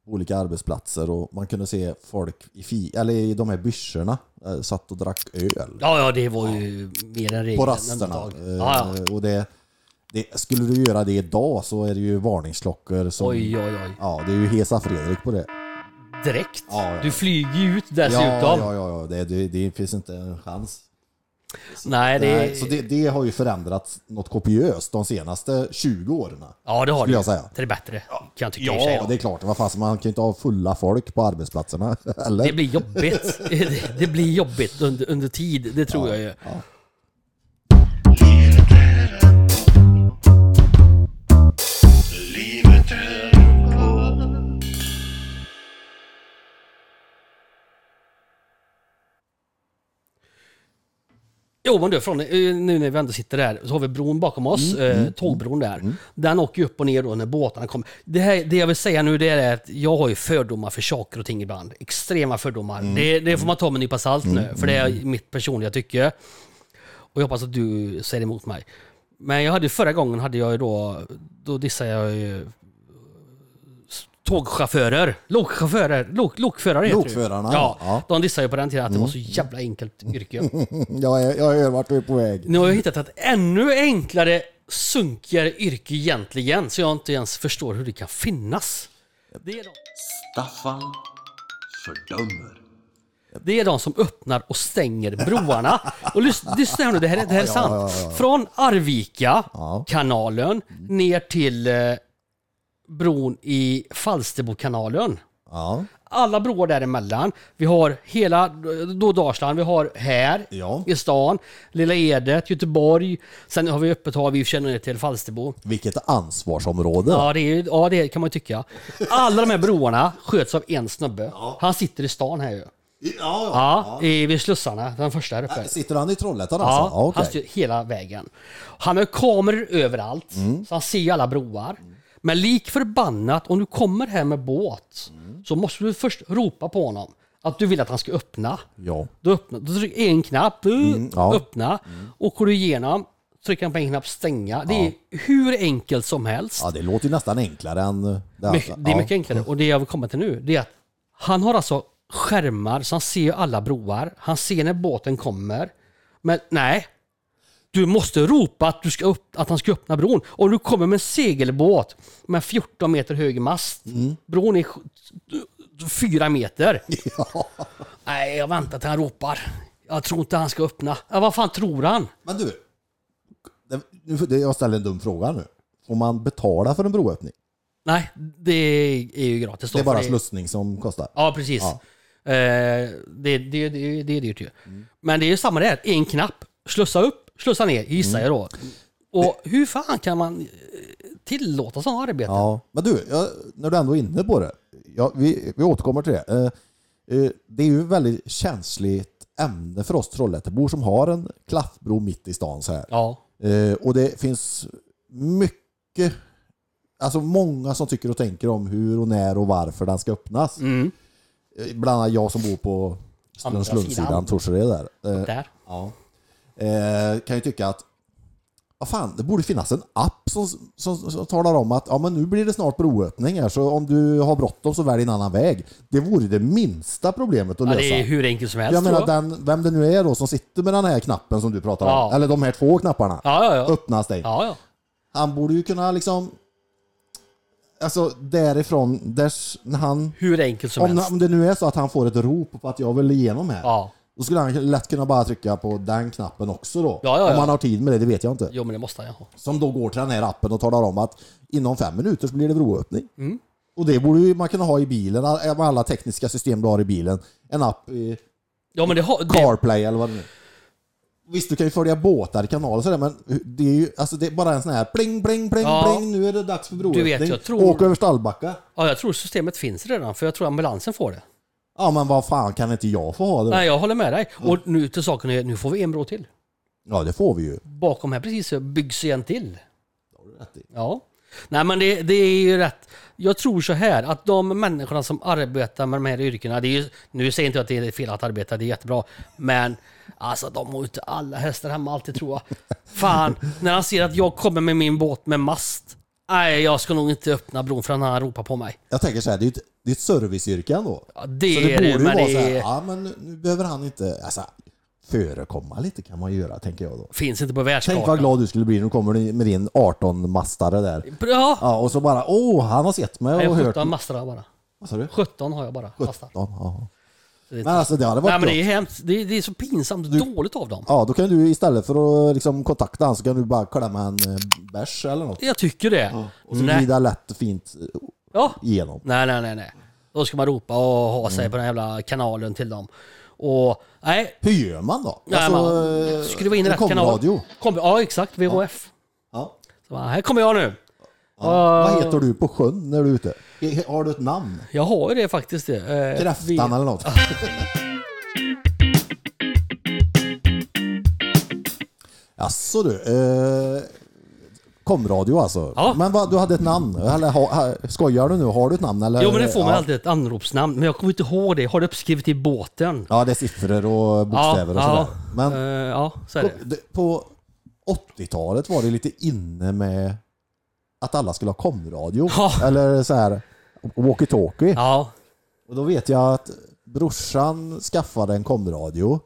Speaker 2: på olika arbetsplatser och man kunde se folk i, fi, eller i de här byrsorna eh, satt och drack öl
Speaker 1: Ja, ja, det var ju mer än regel.
Speaker 2: på
Speaker 1: än
Speaker 2: rasterna.
Speaker 1: undantag.
Speaker 2: Eh,
Speaker 1: Ja, ja.
Speaker 2: Och det, det, skulle du göra det idag så är det ju varningsklockor. Som,
Speaker 1: Oj, oj, oj.
Speaker 2: Ja, det är ju Hesa Fredrik på det.
Speaker 1: Direkt.
Speaker 2: Ja, ja.
Speaker 1: Du flyger ju ut
Speaker 2: Ja,
Speaker 1: dessutom.
Speaker 2: ja, ja, ja. Det, det, det finns inte en chans.
Speaker 1: Nej, det...
Speaker 2: Nej, så det, det har ju förändrats något kopiöst de senaste 20 åren.
Speaker 1: ja, det har du.
Speaker 2: skulle jag säga.
Speaker 1: Det är bättre, kan jag tycka i och för sig
Speaker 2: Ja,
Speaker 1: då.
Speaker 2: det är klart. Vad fan, man kan ju inte ha fulla folk på arbetsplatserna. Eller?
Speaker 1: Det blir jobbigt. Det- det blir jobbigt under, under tid, det tror jag ju.
Speaker 3: Livet är en podd.
Speaker 1: Jo, men du, från, eh, nu när vi ändå sitter där så har vi bron bakom oss,
Speaker 2: Mm,
Speaker 1: eh, tågbron där. Den åker ju upp och ner då när båtarna kommer. Det, här, det jag vill säga nu det är att jag har ju fördomar för saker och ting ibland. Extrema fördomar.
Speaker 2: Mm,
Speaker 1: Det, det får man ta med en nypa salt nu, för det är mitt personliga tycke. Och jag hoppas att du säger emot mig. Men jag hade förra gången hade jag ju då, då dissade jag ju tågchaufförer, lokchaufförer, lok, lokförare heter det ju.
Speaker 2: Lokförarna,
Speaker 1: ja.
Speaker 2: ja. Mm.
Speaker 1: De dissade ju på den tiden att det var så jävla enkelt yrke.
Speaker 2: Jag, är- jag hör vart du är på väg.
Speaker 1: Nu har jag hittat ett ännu enklare, sunkigare yrke egentligen, så jag inte ens förstår hur det kan finnas. Det är de,
Speaker 4: Staffan fördömer.
Speaker 1: det är de som öppnar och stänger broarna. Och lyssna, lyssna här nu, det här, är- det här är sant. Från Arvika, kanalen, ner till eh, bron i Falsterbokanalen.
Speaker 2: Ja.
Speaker 1: alla broar däremellan. Vi har hela eh, då Dalsland, vi har här
Speaker 2: Ja.
Speaker 1: i stan, Lilla Edet, Göteborg. Sen har vi öppet hav, vi känner ner till Falsterbo.
Speaker 2: Vilket ansvarsområde.
Speaker 1: Ja, det, är, ju- ja, det kan man ju tycka. Alla de här broarna sköts av en snubbe. Han sitter i stan här ju. Ja,
Speaker 2: Ja,
Speaker 1: i, vid slussarna, den första här uppe.
Speaker 2: Sitter han i Trollhättan
Speaker 1: Ja,
Speaker 2: alltså? Ja,
Speaker 1: han
Speaker 2: okej.
Speaker 1: styr hela vägen. Han har kameror överallt,
Speaker 2: Mm.
Speaker 1: så han ser ju alla broar. Men lik förbannat, om du kommer här med båt
Speaker 2: Mm.
Speaker 1: så måste du först ropa på honom att du vill att han ska öppna.
Speaker 2: Ja.
Speaker 1: Då, öppnar, då trycker en knapp, uh,
Speaker 2: Mm, ja.
Speaker 1: öppna. Och går du igenom, trycker han på en knapp, stänga. Det är hur enkelt som helst.
Speaker 2: ja, det låter ju nästan enklare än det
Speaker 1: Mycket- Det
Speaker 2: andra.
Speaker 1: är
Speaker 2: Alltså, ja.
Speaker 1: mycket enklare. Och det jag vill komma till nu, det är att han har alltså skärmar så han ser ju alla broar. Han ser när båten kommer. Men nej, du måste ropa att, du ska upp, att han ska öppna bron. Om du kommer med en segelbåt med 14 meter hög mast.
Speaker 2: Mm.
Speaker 1: Bron är 4 meter. Nej, jag väntar till han ropar. Jag tror inte han ska öppna. Ja, vad fan tror han?
Speaker 2: Men du, det, nu, det, jag ställer en dum fråga nu. Får man betala för en broöppning?
Speaker 1: Nej, det är ju gratis. då,
Speaker 2: Det är
Speaker 1: för
Speaker 2: bara slussning som kostar.
Speaker 1: Ja, precis. Eh, det, det, det, det är dyrt ju. Men det är ju samma där. En knapp. Slussa upp, slussa ner, gissar jag då. Och hur fan kan man eh, tillåta sådana arbeten?
Speaker 2: Ja, men du, jag, när du ändå är inne på det. Ja, vi, vi återkommer till det. Eh, eh, det är ju ett väldigt känsligt ämne för oss Trollhättebor som har en klaffbro mitt i stan så här.
Speaker 1: Ja.
Speaker 2: Eh, och det finns mycket, alltså många som tycker och tänker om hur och när och varför den ska öppnas.
Speaker 1: Mm.
Speaker 2: Eh, Bland annat jag som bor på
Speaker 1: Andra sidan.
Speaker 2: Strömslundssidan, Torsered där. Eh,
Speaker 1: Där.
Speaker 2: Ja. Eh, kan ju tycka att vad fan, det borde finnas en app som, som, som talar om att ja, men nu blir det snart broöppning här, så om du har bråttom så välj en annan väg. Det vore det minsta problemet att
Speaker 1: Ja,
Speaker 2: lösa.
Speaker 1: det är hur enkelt som helst.
Speaker 2: jag
Speaker 1: tror
Speaker 2: menar, den, vem det nu är då som sitter med den här knappen som du pratar om,
Speaker 1: Ja.
Speaker 2: eller de här två knapparna,
Speaker 1: Ja, ja, ja.
Speaker 2: öppna stäng.
Speaker 1: ja, ja.
Speaker 2: Han borde ju kunna liksom, alltså därifrån, där, s- när han,
Speaker 1: Hur enkelt som
Speaker 2: om,
Speaker 1: helst.
Speaker 2: om det nu är så att han får ett rop på att jag vill igenom här,
Speaker 1: Ja.
Speaker 2: då skulle han lätt kunna bara trycka på den knappen också då.
Speaker 1: Ja, ja, ja.
Speaker 2: Om han har tid med det, det vet jag inte.
Speaker 1: Jo, men det måste jag ha.
Speaker 2: Som då går till den här appen och talar om att inom fem minuter så blir det broöppning.
Speaker 1: Mm.
Speaker 2: Och det borde ju man kunna ha i bilen, all- med alla tekniska system du har i bilen. En app, i
Speaker 1: Ja, men det har... Det,
Speaker 2: CarPlay eller vad det nu är. Visst, du kan ju följa båtar i kanaler och sådär, men det är ju alltså det är bara en sån här pling, pling, pling,
Speaker 1: Ja.
Speaker 2: pling. Nu är det dags för broöppning.
Speaker 1: vet, jag tror-
Speaker 2: Åk över Stallbacka.
Speaker 1: ja, jag tror systemet finns redan, för jag tror ambulansen får det.
Speaker 2: Ja, men vad fan kan inte jag få ha det?
Speaker 1: Nej, jag håller med dig. Och nu till saken är, nu får vi en bro till.
Speaker 2: Ja, det får vi ju.
Speaker 1: Bakom här precis så byggs en till.
Speaker 2: Det har du rätt i.
Speaker 1: Ja. Nej men det, det är ju rätt. Jag tror så här att de människorna som arbetar med de här yrkena, det är ju, nu säger jag inte att det är fel att arbeta, det är jättebra. Men alltså de har ju inte alla hästar hemma alltid tror jag. Fan, när han ser att jag kommer med min båt med mast. Nej, jag ska nog inte öppna bron förrän han ropar på mig.
Speaker 2: Jag tänker så här, det är ju ett, det är ett serviceyrke ändå.
Speaker 1: Ja, det,
Speaker 2: Så det
Speaker 1: är
Speaker 2: borde
Speaker 1: det,
Speaker 2: ju
Speaker 1: men
Speaker 2: vara
Speaker 1: det
Speaker 2: så här,
Speaker 1: är,
Speaker 2: ja men nu behöver han inte, alltså förekomma lite kan man göra tänker jag då.
Speaker 1: finns inte på
Speaker 2: Tänk vad
Speaker 1: världskartan.
Speaker 2: glad du skulle bli när du kommer med din 18-mastare där.
Speaker 1: Ja,
Speaker 2: Ja, och så bara, åh, han har sett
Speaker 1: jag
Speaker 2: mig och
Speaker 1: har
Speaker 2: hört
Speaker 1: 17 mastar bara.
Speaker 2: Vad sa du?
Speaker 1: 17 har jag bara. mastar.
Speaker 2: 17, ja.
Speaker 1: Det är
Speaker 2: Men alltså det hade
Speaker 1: Nej
Speaker 2: varit
Speaker 1: men det
Speaker 2: gott.
Speaker 1: är hemskt. Det är, det är så pinsamt dåligt av dem.
Speaker 2: Ja, då kan du istället för att liksom kontakta han så kan du bara klämma en eh, bärs eller något.
Speaker 1: Jag tycker det.
Speaker 2: Och så
Speaker 1: Nej.
Speaker 2: glida lätt och fint eh,
Speaker 1: Ja.
Speaker 2: igenom.
Speaker 1: Nej, nej, nej, nej. Då ska man ropa och ha
Speaker 2: Mm.
Speaker 1: sig på den jävla kanalen till dem. Och nej,
Speaker 2: Hur gör man då?
Speaker 1: nej man,
Speaker 2: eh,
Speaker 1: skruva in
Speaker 2: en
Speaker 1: rätt kanal.
Speaker 2: komradio.
Speaker 1: Kom, ja, exakt. VHF.
Speaker 2: Ja.
Speaker 1: Så bara, här kommer jag nu.
Speaker 2: Ja. Vad heter du på sjön när du är ute? He- Har du ett namn?
Speaker 1: Jag har ju det faktiskt. Det. Eh, vi-
Speaker 2: Kräftan eller något? Jaså du. Eh, komradio alltså.
Speaker 1: Ja.
Speaker 2: Men vad, du hade ett namn? Eller ha, ha, skojar du nu? Har du ett namn? Eller?
Speaker 1: Jo, men det får man
Speaker 2: ja.
Speaker 1: alltid ett anropsnamn. Men jag kommer inte ihåg det. Har det uppskrivet i båten?
Speaker 2: Ja, det är siffror och bokstäver och sådär. Men
Speaker 1: eh, ja, så är det.
Speaker 2: på- det- på 80-talet var det lite inne med att alla skulle ha komradio.
Speaker 1: Ja.
Speaker 2: Eller så här och walkie-talkie.
Speaker 1: Ja.
Speaker 2: Och då vet jag att brorsan skaffade en komradio.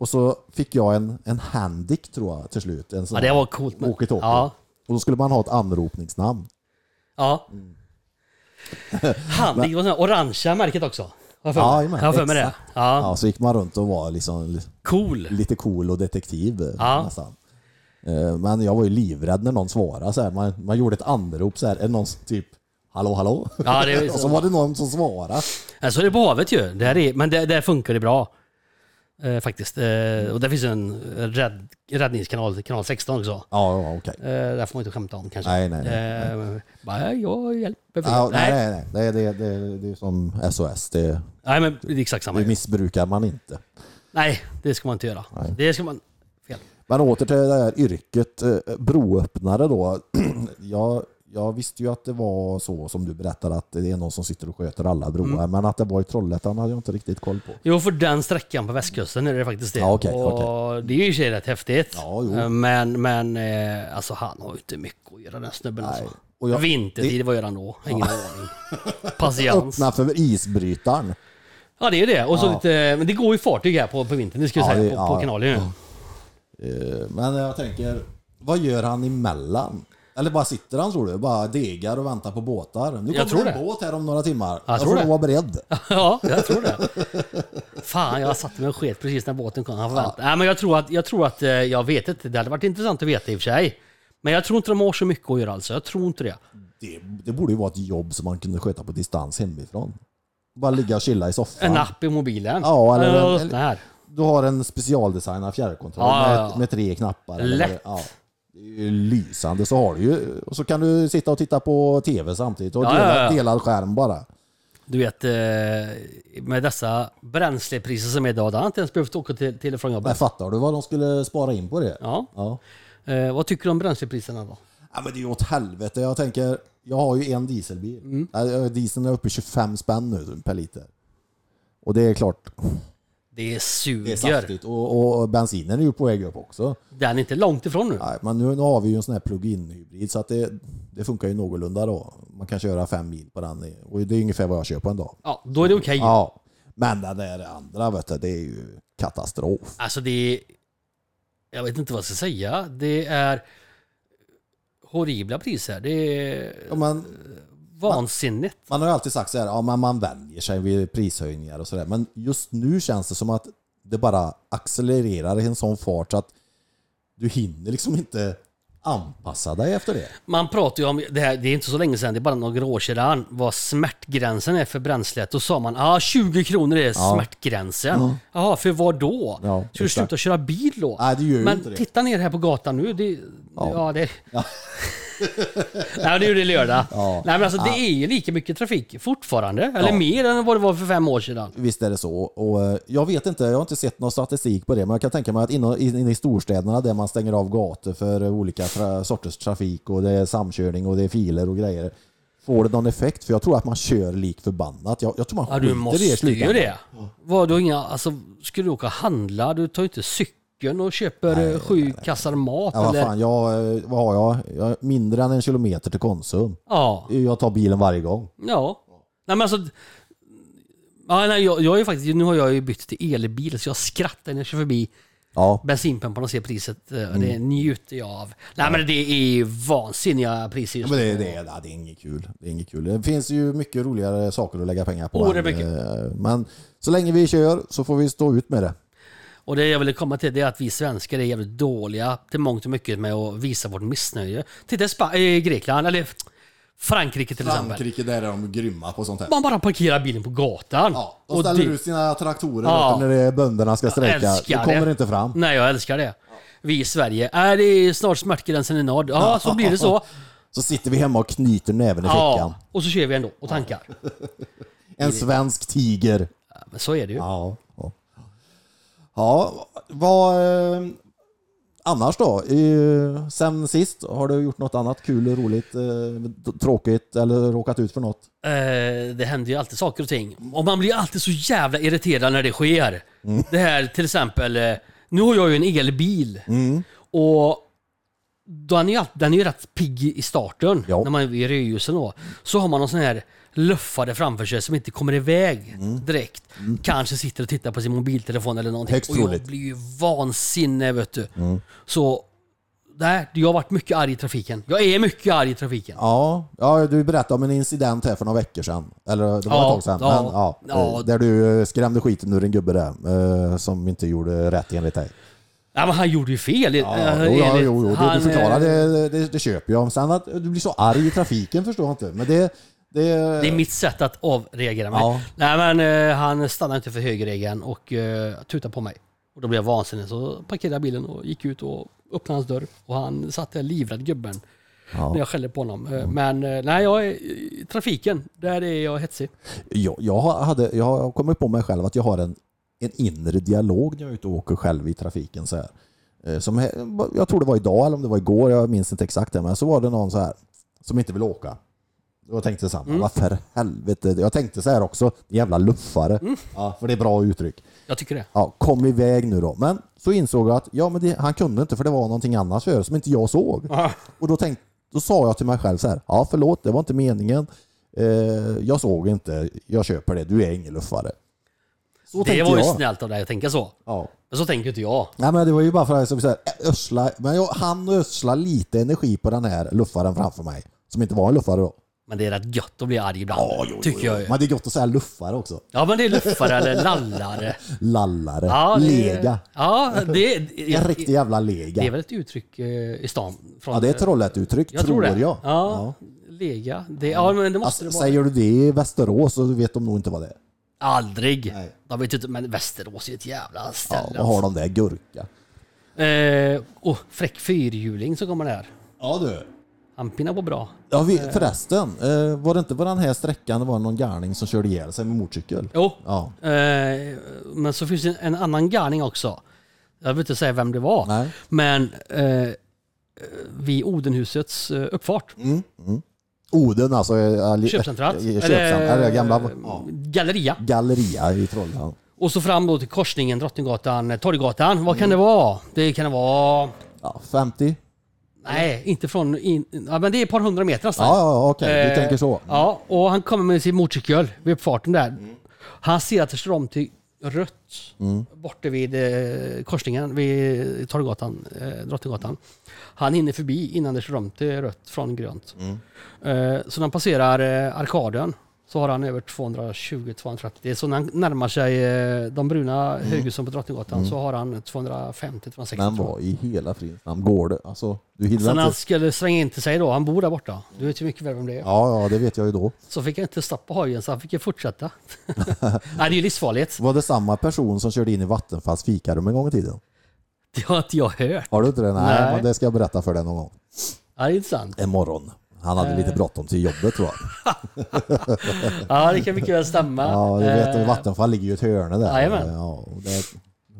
Speaker 2: Och så fick jag en, en handic tror jag till slut. En sån
Speaker 1: Ja, det
Speaker 2: här
Speaker 1: var coolt, men-
Speaker 2: walkie-talkie.
Speaker 1: Ja.
Speaker 2: Och då skulle man ha ett anropningsnamn.
Speaker 1: Ja.
Speaker 2: Mm.
Speaker 1: Han, det var sån här orangea märket också. Har jag för
Speaker 2: Ja,
Speaker 1: mig.
Speaker 2: jajamän,
Speaker 1: Har jag för mig det.
Speaker 2: exakt.
Speaker 1: Ja.
Speaker 2: Ja, så gick man runt och var liksom li-
Speaker 1: Cool.
Speaker 2: lite cool och detektiv eh,
Speaker 1: Ja.
Speaker 2: nästan. Eh, Men jag var ju livrädd när någon svarade. Så här. Man, man gjorde ett anrop så här. Är det någon som typ Hallå hallå?
Speaker 1: Ja, det är ju
Speaker 2: och
Speaker 1: så.
Speaker 2: så var det någon som svarade.
Speaker 1: Ja, så är det på havet ju. Där är, men där, där funkar det bra. Eh, faktiskt. Eh, och där finns en rädd, räddningskanal, kanal 16 också.
Speaker 2: Ja, ja okej.
Speaker 1: Eh, där får man inte skämta om kanske.
Speaker 2: Nej, nej,
Speaker 1: Eh, bara, jag hjälper.
Speaker 2: Ja,
Speaker 1: folk."
Speaker 2: nej,
Speaker 1: nej.
Speaker 2: nej, nej. Det, är- det, är- det, är- det är som SOS. Det,
Speaker 1: nej, men det är exakt samma.
Speaker 2: det
Speaker 1: ju.
Speaker 2: missbrukar man inte.
Speaker 1: Nej, det ska man inte göra. Det ska man... Fel.
Speaker 2: Men åter till det här yrket, eh, broöppnare då. jag, jag visste ju att det var så som du berättade att det är någon som sitter och sköter alla broar.
Speaker 1: Mm.
Speaker 2: Men att det var i Trollhättan hade jag inte riktigt koll på.
Speaker 1: Jo, för den sträckan på västkusten är det faktiskt det.
Speaker 2: Ja, okej,
Speaker 1: och
Speaker 2: okej.
Speaker 1: Det är ju i och för sig rätt häftigt.
Speaker 2: Ja, jo.
Speaker 1: Eh, Men, men eh, alltså, han har ju inte mycket att göra den snubben. Alltså.
Speaker 2: Och jag-
Speaker 1: Vintertid, vad gör han då? Ingen aning. Patiens.
Speaker 2: Öppna för isbrytaren.
Speaker 1: Ja, det är ju det. Och så lite, men det går ju fartyg här på, på vintern, det ska jag
Speaker 2: Ja,
Speaker 1: säga,
Speaker 2: det-
Speaker 1: på,
Speaker 2: ja.
Speaker 1: på kanalen ju.
Speaker 2: Eh, Men jag tänker, vad gör han emellan? Eller bara sitter han tror du? Bara degar och väntar på båtar? Nu
Speaker 1: Jag
Speaker 2: kommer
Speaker 1: tror
Speaker 2: en
Speaker 1: det.
Speaker 2: båt här om några timmar. Jag,
Speaker 1: tror
Speaker 2: får
Speaker 1: det.
Speaker 2: nog vara beredd.
Speaker 1: Ja, jag tror det. Fan, jag satte mig och sket precis när båten kom. Han ja. Nej, men jag tror att, jag tror att, eh, jag vet inte, det hade varit intressant att veta i och för sig. Men jag tror inte de har så mycket att göra alltså, jag tror inte det.
Speaker 2: Det, det borde ju vara ett jobb som man kunde sköta på distans hemifrån. Bara ligga och chilla i soffan.
Speaker 1: En app i mobilen.
Speaker 2: Ja, eller-
Speaker 1: Eller,
Speaker 2: eller-
Speaker 1: här.
Speaker 2: Du har en specialdesignad fjärrkontroll
Speaker 1: Ja,
Speaker 2: med,
Speaker 1: ja, ja.
Speaker 2: med tre knappar. eller
Speaker 1: Lätt.
Speaker 2: vad det- Ja. Det är ju Lysande så har du ju. Och så kan du sitta och titta på TV samtidigt och
Speaker 1: Ja,
Speaker 2: dela,
Speaker 1: ja, ja.
Speaker 2: delad skärm bara.
Speaker 1: Du vet, eh, med dessa bränslepriser som är idag, hade han inte ens behövt åka till, till och från
Speaker 2: Men
Speaker 1: jobbet.
Speaker 2: fattar du vad de skulle spara in på det?
Speaker 1: Ja.
Speaker 2: Ja.
Speaker 1: Eh, vad tycker du om bränslepriserna då?
Speaker 2: Ja, men det är ju åt helvete. Jag tänker, jag har ju en dieselbil.
Speaker 1: Mm.
Speaker 2: Ja, Dieseln är uppe i 25 spänn nu per liter. Och det är klart,
Speaker 1: Det
Speaker 2: det är
Speaker 1: suger.
Speaker 2: saftigt. Och, och bensinen är ju på väg upp också.
Speaker 1: Den är inte långt ifrån nu.
Speaker 2: Nej, men nu, nu har vi ju en sån här plug-in hybrid så att det, det funkar ju någorlunda då. Man kan köra fem mil på den i- och det är ungefär vad jag kör på en dag.
Speaker 1: Ja, då är det okej.
Speaker 2: Ja, men den där andra vet du, det är ju katastrof.
Speaker 1: Alltså det är, Jag vet inte vad jag ska säga. Det är horribla priser. Det är
Speaker 2: Ja, man,
Speaker 1: vansinnigt.
Speaker 2: man har ju alltid sagt så här, ja, man, man vänjer sig vid prishöjningar och sådär. Men just nu känns det som att det bara accelererar i en sån fart så att du hinner liksom inte anpassa dig efter det.
Speaker 1: Man pratar ju om, det, här, det är inte så länge sedan, det är bara några år sedan, vad smärtgränsen är för bränslet. Då sa man ah, 20 kronor är smärtgränsen. Jaha, för vad då?
Speaker 2: Ja,
Speaker 1: Ska du
Speaker 2: exakt.
Speaker 1: sluta köra bil då?
Speaker 2: Nej, det gör ju
Speaker 1: Men
Speaker 2: inte det.
Speaker 1: titta ner här på gatan nu. Det, ja. det... Nej, det gjorde det lördag.
Speaker 2: Ja.
Speaker 1: Nej, men alltså, det är ju lika mycket trafik fortfarande, eller mer än vad det var för fem år sedan.
Speaker 2: Visst är det så. Och eh, jag vet inte, jag har inte sett någon statistik på det, men jag kan tänka mig att inne, inne i storstäderna där man stänger av gator för eh, olika tra- sorters trafik och det är samkörning och det är filer och grejer. Får det någon effekt? För jag tror att man kör lik förbannat. Jag, jag tror man
Speaker 1: Ja, du
Speaker 2: skiter i det i
Speaker 1: måste ju
Speaker 2: slutändan.
Speaker 1: det. Vad du inga, alltså, skulle du åka och handla, du tar ju inte cykeln och köper eh, sju kassar mat
Speaker 2: Ja, vad
Speaker 1: eller...
Speaker 2: fan, jag, eh, vad har jag? jag har mindre än en kilometer till Konsum.
Speaker 1: Ja,
Speaker 2: Jag tar bilen varje gång.
Speaker 1: ja. Nej men alltså... Ja, nej, jag, jag är ju faktiskt, nu har jag ju bytt till elbil så jag skrattar när jag kör förbi
Speaker 2: Ja,
Speaker 1: bensinpumparna och ser priset. eh, Det
Speaker 2: Mm.
Speaker 1: njuter jag av. Nej men det är ju vansinniga priser
Speaker 2: Ja,
Speaker 1: just
Speaker 2: men
Speaker 1: nu.
Speaker 2: det, det, är- ja, det är inget kul. Det är inget kul. Det finns ju mycket roligare saker att lägga pengar på.
Speaker 1: Oh, det är
Speaker 2: än, eh, Men så länge vi kör så får vi stå ut med det.
Speaker 1: Och det jag ville komma till det är att vi svenskar är jävligt dåliga till mångt och mycket med att visa vårt missnöje. Titta i Spa- eh, Grekland, eller Frankrike till exempel.
Speaker 2: Frankrike där är Liksom, de grymma på sånt här.
Speaker 1: Man bara parkerar bilen på gatan.
Speaker 2: Ja, de
Speaker 1: Och
Speaker 2: ställer
Speaker 1: det-
Speaker 2: ut sina traktorer
Speaker 1: Ja.
Speaker 2: vet du, när det är bönderna ska
Speaker 1: jag
Speaker 2: strejka. Då
Speaker 1: älskar
Speaker 2: kommer
Speaker 1: det.
Speaker 2: det inte fram.
Speaker 1: Nej, jag älskar det. Vi i Sverige, är det är snart smärtgränsen är nådd? Ja, så blir det så.
Speaker 2: Så sitter vi hemma och knyter näven i fickan.
Speaker 1: Ja, och så kör vi ändå och tankar.
Speaker 2: En svensk tiger.
Speaker 1: Ja, Men så är det ju.
Speaker 2: Ja. Ja, ja vad... eh, Annars då? Eh, Sen sist, har du gjort något annat kul, roligt, eh, tråkigt eller råkat ut för något?
Speaker 1: Eh, det händer ju alltid saker och ting. Och man blir alltid så jävla irriterad när det sker.
Speaker 2: Mm.
Speaker 1: Det här till exempel, eh, nu har jag ju en elbil. Och då är den, ju, all- den är ju rätt pigg i starten,
Speaker 2: Ja.
Speaker 1: när man är vid rödljusen då. Så har man någon sån här luffare framför sig som inte kommer iväg
Speaker 2: Mm.
Speaker 1: direkt. Kanske sitter och tittar på sin mobiltelefon eller någonting.
Speaker 2: Högst
Speaker 1: och jag
Speaker 2: troligt. Mm.
Speaker 1: blir ju vansinne vet du. Så, nej, jag har varit mycket arg i trafiken. Jag är mycket arg i trafiken.
Speaker 2: Ja, ja, du berättade om en incident här för några veckor sedan. Eller det var
Speaker 1: Ja,
Speaker 2: ett tag sedan.
Speaker 1: ja,
Speaker 2: men, ja,
Speaker 1: ja.
Speaker 2: eh, Där du eh, skrämde skiten ur en gubbe där, eh, som inte gjorde rätt enligt dig.
Speaker 1: Nej, men han gjorde ju fel.
Speaker 2: Ja,
Speaker 1: eh,
Speaker 2: jo, ja,
Speaker 1: enligt-
Speaker 2: jo, jo. Du,
Speaker 1: han,
Speaker 2: du
Speaker 1: eh,
Speaker 2: förklarar det, det, det köper jag. Men Sen att du blir så arg i trafiken förstår jag inte. Men det... Det,
Speaker 1: Det är mitt sätt att avreagera mig.
Speaker 2: Ja.
Speaker 1: Nej men eh, han stannade inte för högerregeln och eh, tutade på mig. Och då blev jag vansinnig så parkerade jag bilen och gick ut och öppnade hans dörr. Och han satt där livrädd gubben. När jag skällde på honom. Eh, Men eh, nej, jag är, i trafiken, där är jag hetsig.
Speaker 2: jag, jag, hade, jag har kommit på mig själv att jag har en, en inre dialog när jag är ute och åker själv i trafiken. Så här. Eh, Som, he- jag tror det var idag eller om det var igår, jag minns inte exakt det, men så var det någon så här som inte vill åka. Och Jag tänkte samma, vad för helvete. Jag tänkte så här också, jävla luffare. Ja, för det är bra uttryck.
Speaker 1: Jag tycker det.
Speaker 2: Ja, kom iväg nu då. Men så insåg jag att ja, men det, han kunde inte för det var någonting annat för som inte jag såg. Och då, tänkte, då sa jag till mig själv så här, ja förlåt, det var inte meningen. Eh, jag såg inte, jag köper det, du är ingen luffare. Så
Speaker 1: det
Speaker 2: tänkte
Speaker 1: var ju
Speaker 2: jag.
Speaker 1: snällt av dig att tänka så.
Speaker 2: Ja.
Speaker 1: Men så tänker inte jag.
Speaker 2: Nej men det var ju bara för att jag skulle säga, ödsla, men jag hann ödsla lite energi på den här luffaren framför mig. Som inte var en luffare då.
Speaker 1: Men det är rätt gött att bli arg ibland. tycker jag ju.
Speaker 2: Men det är gott att säga luffare också.
Speaker 1: Ja men det är luffare eller lallare.
Speaker 2: Lallare,
Speaker 1: Ja, det,
Speaker 2: lega.
Speaker 1: Ja, det,
Speaker 2: En riktig jävla lega.
Speaker 1: Det är väl ett uttryck eh, i stan? Från,
Speaker 2: Ja det är ett Trollhätteuttryck,
Speaker 1: jag
Speaker 2: tror
Speaker 1: tror det.
Speaker 2: jag.
Speaker 1: Ja, Lega. Det, ja, men det måste
Speaker 2: Alltså,
Speaker 1: det vara.
Speaker 2: säger du det i Västerås så vet de nog inte vad det är.
Speaker 1: Aldrig.
Speaker 2: Nej.
Speaker 1: De vet ju inte, men Västerås är ett jävla ställe. alltså.
Speaker 2: Ja, vad har de där? Gurka?
Speaker 1: eh, och fräck fyrhjuling som kommer där.
Speaker 2: Ja du.
Speaker 1: Han pinnar på bra.
Speaker 2: Ja, vi, förresten, eh, var det inte på den här sträckan det var någon garning som körde ihjäl sig med motorcykel?
Speaker 1: Jo.
Speaker 2: Ja.
Speaker 1: Eh, men så finns det en annan garning också. Jag vill inte säga vem det var.
Speaker 2: Nej.
Speaker 1: Men eh, vid Odenhusets eh, uppfart.
Speaker 2: Mm. Oden alltså. eh, li-
Speaker 1: Köpcentrat.
Speaker 2: eh, Köpcentrat. Eller gamla
Speaker 1: eh, Galleria.
Speaker 2: galleria i Trollhättan.
Speaker 1: Och så fram då till korsningen Drottninggatan, eh, Torggatan. Vad kan det vara? Det kan det vara...
Speaker 2: Ja, 50?
Speaker 1: Nej, inte från... In, ja, men det är ett par hundra meter nästan.
Speaker 2: Ja, ja okej.
Speaker 1: Eh,
Speaker 2: Du tänker så.
Speaker 1: Ja, och han kommer med sin motorcykel vid uppfarten där.
Speaker 2: Mm.
Speaker 1: Han ser att det står om till rött borta vid eh, korsningen vid Torggatan, eh, Drottninggatan. Han hinner förbi innan det står om till rött från grönt.
Speaker 2: Mm.
Speaker 1: Eh, så när han passerar eh, arkaden så har han över 220-230. Så när han närmar sig eh, de bruna höghusen på Drottninggatan så har han 250-260.
Speaker 2: Mm. Men vad i hela fridens namn går det? Alltså, du
Speaker 1: Sen
Speaker 2: hinner
Speaker 1: när han
Speaker 2: inte.
Speaker 1: skulle svänga in till sig då, han bor där borta. Du vet ju mycket väl vem det är.
Speaker 2: Ja, ja, det vet jag ju då.
Speaker 1: Så fick jag inte stopp på hojen så han fick ju fortsätta. Nej, det är ju livsfarligt.
Speaker 2: Var det samma person som körde in i Vattenfalls fikarum en gång i tiden?
Speaker 1: Det har inte jag hört.
Speaker 2: Har du inte det? Nej,
Speaker 1: Nej.
Speaker 2: Men det ska jag berätta för dig någon gång.
Speaker 1: Ja, det är intressant.
Speaker 2: En morgon. Han hade
Speaker 1: Eh.
Speaker 2: lite bråttom till jobbet tror jag.
Speaker 1: Ja, det kan mycket väl stämma.
Speaker 2: Ja, du vet
Speaker 1: Eh,
Speaker 2: Vattenfall ligger ju i ett hörne där.
Speaker 1: jajamän.
Speaker 2: Ja, och där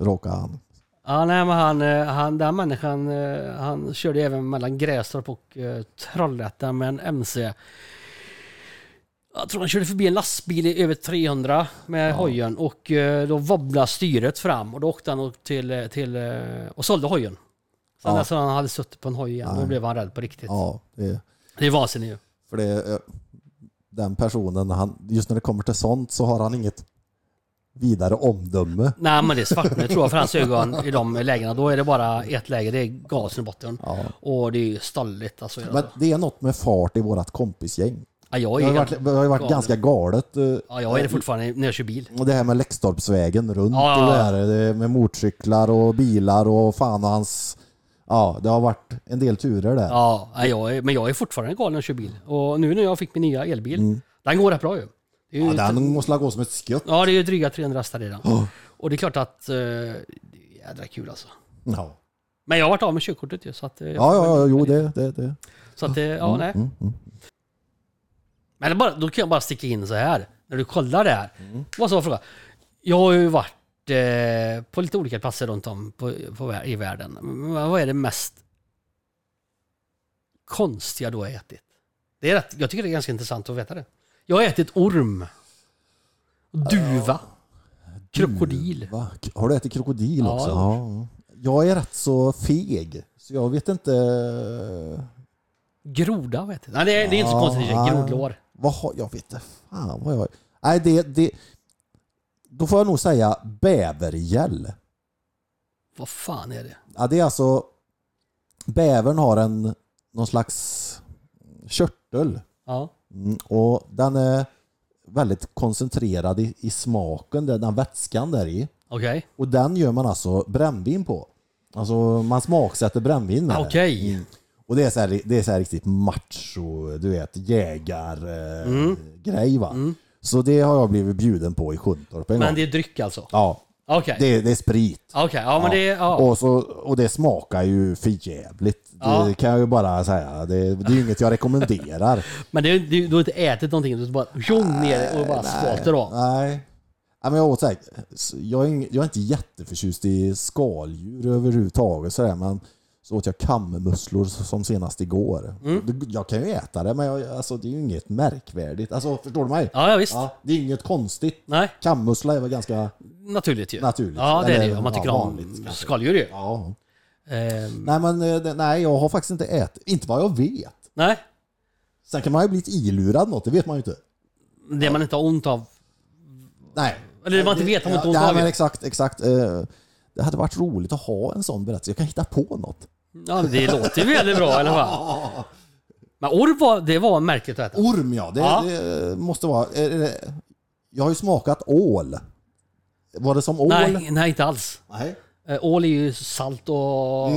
Speaker 2: råkade han.
Speaker 1: ja, nej, men han, eh, han, den här människan, eh, han körde även mellan Grästorp och eh, Trollhättan med en MC. Jag tror han körde förbi en lastbil i över 300 med hojen och eh, då wobblade styret fram och då åkte han upp till, eh, till eh, och sålde hojen. Sen
Speaker 2: Ja.
Speaker 1: när han hade suttit på en hoj igen, då blev han rädd på riktigt.
Speaker 2: Ja, det,
Speaker 1: Det är vansinnigt ju.
Speaker 2: för det, eh, den personen, han, just när det kommer till sånt så har han inget vidare omdöme.
Speaker 1: Nej men det är svartvitt tror jag för hans ögon i de lägena. Då är det bara ett läge, det är gasen i botten. Och det är ju stalligt alltså.
Speaker 2: Men det är något med fart i vårat kompisgäng.
Speaker 1: ja, jag
Speaker 2: Det
Speaker 1: är
Speaker 2: har ju
Speaker 1: helt,
Speaker 2: varit, det har ju varit
Speaker 1: galet.
Speaker 2: ganska galet. eh,
Speaker 1: ja, jag är det fortfarande när jag kör bil.
Speaker 2: Och det här med Läxtorpsvägen runt
Speaker 1: Ja, ja,
Speaker 2: och det
Speaker 1: ja.
Speaker 2: här eh, med motorcyklar och bilar och fan och hans... Ja, det har varit en del turer där.
Speaker 1: Ja, nej, jag är, men jag är fortfarande galen när jag kör bil. Och nu när jag fick min nya elbil, den går rätt bra ju. Det är ju
Speaker 2: Mm. Ja, den måste gå som ett skutt.
Speaker 1: ja, det är ju dryga 300 hästar i den. Och det är klart att eh, det är jädra kul alltså.
Speaker 2: Ja,
Speaker 1: Men jag har varit av med körkortet ju så att... eh,
Speaker 2: ja, ja, ja jo det, Mm. det, det.
Speaker 1: Så att det, ja nej. Men det är bara, då kan jag bara sticka in så här. När du kollar det här. Vad så fråga? Jag har ju varit eh, på lite olika platser runt om på, på, vär- i världen. Men vad är det mest konstiga du har ätit? Det är rätt, jag tycker det är ganska intressant att veta det. Jag har ätit orm. Duva. Krokodil.
Speaker 2: Va? Mm, Har du ätit krokodil
Speaker 1: Ja,
Speaker 2: också?
Speaker 1: det
Speaker 2: Ja. jag är rätt så feg, så jag vet inte...
Speaker 1: Groda vet jag. Nej, det, är, det är inte så konstigt. Det är grodlår.
Speaker 2: Vad har, jag vet inte fan vad jag... Nej, det, det... Då får jag nog säga bävergäll.
Speaker 1: Vad fan är det?
Speaker 2: Ja, det är alltså... Bävern har en, någon slags körtel.
Speaker 1: Ja.
Speaker 2: Mm, och den är väldigt koncentrerad i, i smaken, den den vätskan där i.
Speaker 1: Okej.
Speaker 2: Och den gör man alltså brännvin på. Alltså man smaksätter brännvin med det.
Speaker 1: Okej.
Speaker 2: Och det är, så här, det är så här riktigt macho, du vet, jägargrej
Speaker 1: Mm.
Speaker 2: eh, grej va. Så det har jag blivit bjuden på i Sjuntorp en
Speaker 1: Men
Speaker 2: gång.
Speaker 1: det är dryck alltså?
Speaker 2: Ja,
Speaker 1: Okej.
Speaker 2: det, är- det är sprit.
Speaker 1: Okej, ja men det är... Ja.
Speaker 2: Och, så, och det smakar ju för jävligt. Det
Speaker 1: Ja.
Speaker 2: kan jag ju bara säga. Det, det är ju inget jag rekommenderar.
Speaker 1: Men det är, det är, du har inte ätit någonting, du bara tjong ner och bara skvater av.
Speaker 2: Nej. Nej, men jag, åt så här, s- jag, är, ing- jag är inte jätteförtjust i skaldjur överhuvudtaget sådär, men så åt jag kammusslor s- som senast igår. Det- Jag kan ju äta det, men jag, alltså, det är ju inget märkvärdigt. Alltså, förstår du mig?
Speaker 1: Ja, ja visst.
Speaker 2: Ja, det är inget konstigt.
Speaker 1: Nej,
Speaker 2: Kammussla är väl ganska...
Speaker 1: naturligt ju.
Speaker 2: Naturligt.
Speaker 1: Ja, det är det ju.
Speaker 2: Eller,
Speaker 1: Om man tycker
Speaker 2: ja, vanligt
Speaker 1: om
Speaker 2: kanske.
Speaker 1: skaldjur ju.
Speaker 2: Ja.
Speaker 1: Ehm,
Speaker 2: Nej, men eh, det- nej, jag har faktiskt inte ätit. Inte vad jag vet.
Speaker 1: nej,
Speaker 2: Sen kan man ju bli ilurad något, det vet man ju inte.
Speaker 1: det man inte har ont av.
Speaker 2: Nej.
Speaker 1: Eller det man inte vet har man inte ont
Speaker 2: Ja,
Speaker 1: av
Speaker 2: men
Speaker 1: ju.
Speaker 2: exakt, exakt. Eh, Det hade varit roligt att ha en sån berättelse. Jag kan hitta på något.
Speaker 1: Ja, men det låter ju väldigt bra i alla fall. Men orv var, det var märkligt att äta.
Speaker 2: Orm ja, det,
Speaker 1: Ja.
Speaker 2: det måste vara. är det- Jag har ju smakat ål. Var det som ål?
Speaker 1: Nej, nej, inte alls.
Speaker 2: Nej.
Speaker 1: Eh, Ål är ju salt och...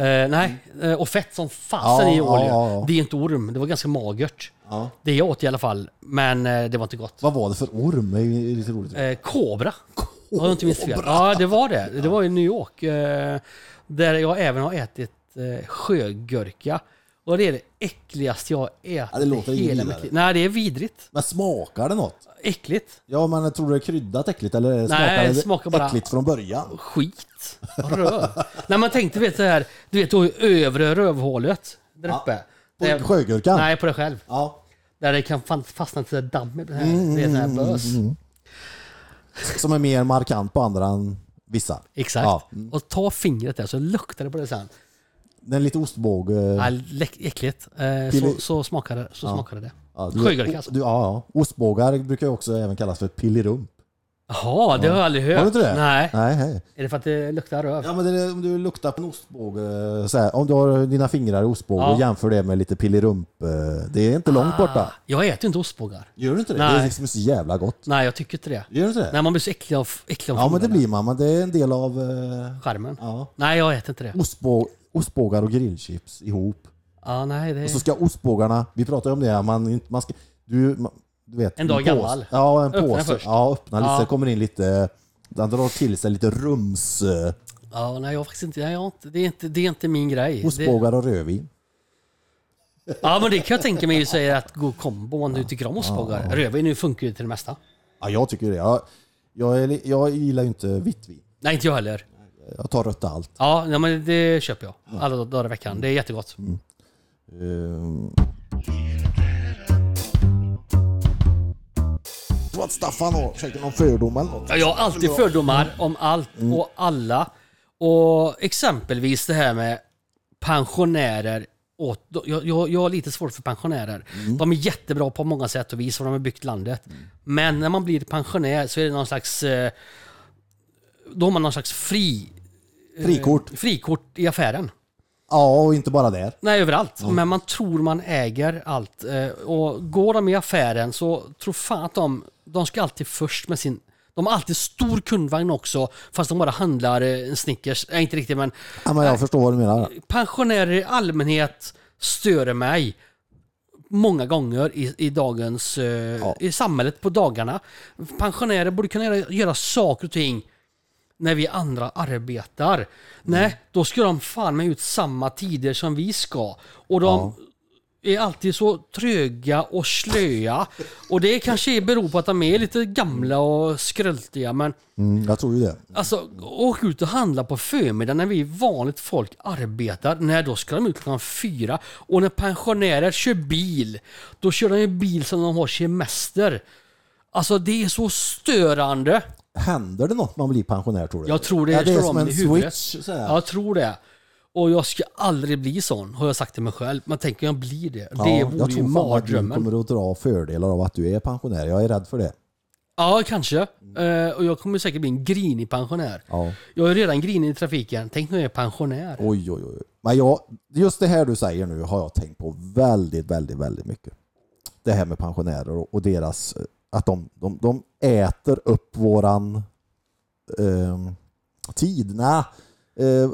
Speaker 1: Eh, nej, eh, och fett som fasen
Speaker 2: Mm, Ja,
Speaker 1: i ål ju.
Speaker 2: ja, ja.
Speaker 1: Det är inte orm, det var ganska magert.
Speaker 2: Ja.
Speaker 1: Det jag åt i alla fall, men eh, det var inte gott.
Speaker 2: Vad var det för orm? Det är ju lite roligt.
Speaker 1: Eh, Kobra. Om jag inte minns fel. Ja, det var det. Det var i New York. Eh, där jag även har ätit eh, sjögurka. Och det är det äckligaste jag har ätit
Speaker 2: Ja, det låter
Speaker 1: i
Speaker 2: inget
Speaker 1: hela
Speaker 2: vidare.
Speaker 1: mitt liv. Nej, det är vidrigt.
Speaker 2: Men smakar det något?
Speaker 1: Äckligt.
Speaker 2: Ja, men tror du det är kryddat äckligt
Speaker 1: det
Speaker 2: eller Nej, smakar det
Speaker 1: smakar bara-
Speaker 2: äckligt från början?
Speaker 1: Skit. Röv. När man tänkte, vet du här, du vet då övre rövhålet där
Speaker 2: Ja.
Speaker 1: uppe.
Speaker 2: På
Speaker 1: Där-
Speaker 2: sjögurkan?
Speaker 1: Nej, på dig själv.
Speaker 2: Ja.
Speaker 1: Där det kan fan fastna till dammet. Det, här,
Speaker 2: Mm,
Speaker 1: det är så här bös.
Speaker 2: Som är mer markant på andra än vissa.
Speaker 1: Exakt.
Speaker 2: Ja.
Speaker 1: Och ta fingret där så luktar det på det sen.
Speaker 2: Den är lite ostbåge.
Speaker 1: Ja, läck- äckligt. Eh,
Speaker 2: Pili-
Speaker 1: så, så smakade det. Så smakade det.
Speaker 2: Ja, du-
Speaker 1: Sjögurka alltså.
Speaker 2: Du, ja, ja. Ostbågar brukar ju också även kallas för pillirump.
Speaker 1: Jaha, det har jag aldrig hört.
Speaker 2: Har du inte det?
Speaker 1: Nej.
Speaker 2: Nej, hej.
Speaker 1: Är det för att det luktar röv?
Speaker 2: Ja, men det är, om du luktar på en ostbåge, så här, om du har dina fingrar i ostbåge
Speaker 1: Ja.
Speaker 2: och jämför det med lite pillerump. eh, Det är inte långt borta.
Speaker 1: Jag äter ju inte ostbågar.
Speaker 2: Gör du inte det? Det
Speaker 1: Nej.
Speaker 2: är liksom så jävla gott.
Speaker 1: Nej, jag tycker inte det.
Speaker 2: Gör du inte det?
Speaker 1: Nej, man blir så äcklig av, äcklig av
Speaker 2: ja, men det
Speaker 1: fingrarna.
Speaker 2: blir man. Men det är en del av eh,
Speaker 1: Charmen.
Speaker 2: ja.
Speaker 1: Nej, jag äter inte det.
Speaker 2: ostbå, ostbågar och grillchips ihop.
Speaker 1: Ja, nej, det...
Speaker 2: Och så ska ostbågarna, vi pratade om det, här, man, inte- man ska, du, man, du vet.
Speaker 1: En dag
Speaker 2: en påse-
Speaker 1: gammal.
Speaker 2: Ja, en
Speaker 1: Öppna
Speaker 2: påse.
Speaker 1: först.
Speaker 2: Ja, öppna lite.
Speaker 1: Ja.
Speaker 2: Sen kommer in lite, den drar till sig lite rums... Eh,
Speaker 1: ja, nej, jag har faktiskt inte... Nej, jag har inte... Det, är inte det är inte min grej. Det...
Speaker 2: ostbågar och rödvin.
Speaker 1: Ja, men det kan jag tänka mig ju säga att god kombo om du tycker om ostbågar. Rödvin nu funkar ju till det mesta.
Speaker 2: Ja, jag tycker det. Jag, jag, är, li- jag gillar ju inte vitt vin.
Speaker 1: Nej, inte jag heller.
Speaker 2: Jag tar rött allt.
Speaker 1: Ja, nej, men det köper jag. Alla dagar i veckan. Det är jättegott.
Speaker 2: Ehm. Jag tror att Staffan har säkert någon fördom eller något.
Speaker 1: Ja, Jag har alltid fördomar om allt och alla. Och exempelvis det här med pensionärer. Åt, jag, jag, jag har lite svårt för pensionärer. De är jättebra på många sätt och vis, för de har byggt landet. Men när man blir pensionär så är det någon slags... eh, Då har man någon slags fri,
Speaker 2: Frikort.
Speaker 1: frikort i affären.
Speaker 2: Ja, och inte bara där.
Speaker 1: Nej, överallt. Men man tror man äger allt. Eh, Och går de i affären så tror fan att de, de ska alltid först med sin... De har alltid stor kundvagn också, fast de bara handlar eh, en Snickers. Nej, inte riktigt, men
Speaker 2: Ja, men jag förstår vad du menar.
Speaker 1: pensionärer i allmänhet stör mig många gånger i, i dagens... eh, I samhället på dagarna. Pensionärer borde kunna göra, göra saker och ting när vi andra arbetar. Nej, då ska de fan med ut samma tider som vi ska. Och de är alltid så tröga och slöa. Och det kanske beror på att de är lite gamla och skröltiga, men
Speaker 2: Mm, jag tror ju det.
Speaker 1: Alltså, åk ut och handla på förmiddagen när vi vanligt folk arbetar. Nej, då ska de ut klockan fyra. Och när pensionärer kör bil, då kör de ju bil som de har semester. Alltså, det är så störande.
Speaker 2: Händer det något när man blir pensionär tror du?
Speaker 1: Jag tror det
Speaker 2: ja, det är
Speaker 1: slår
Speaker 2: som
Speaker 1: om
Speaker 2: en
Speaker 1: i huvudet.
Speaker 2: switch. Så här.
Speaker 1: Jag tror det. Och jag ska aldrig bli sån, har jag sagt till mig själv. Men tänk om jag blir det.
Speaker 2: Ja,
Speaker 1: det vore
Speaker 2: jag
Speaker 1: ju
Speaker 2: tror fan att du
Speaker 1: mardrömmen.
Speaker 2: kommer att dra fördelar av att du är pensionär. Jag är rädd för det.
Speaker 1: Ja, kanske. Eh, och jag kommer säkert bli en grinig pensionär.
Speaker 2: Ja.
Speaker 1: Jag är redan grinig i trafiken. Tänk när jag är pensionär.
Speaker 2: Oj, oj, oj. Men jag, just det här du säger nu har jag tänkt på väldigt, väldigt, väldigt mycket. Det här med pensionärer och, och deras, eh, att de, de, de äter upp våran ehm, tid. Nä, eh,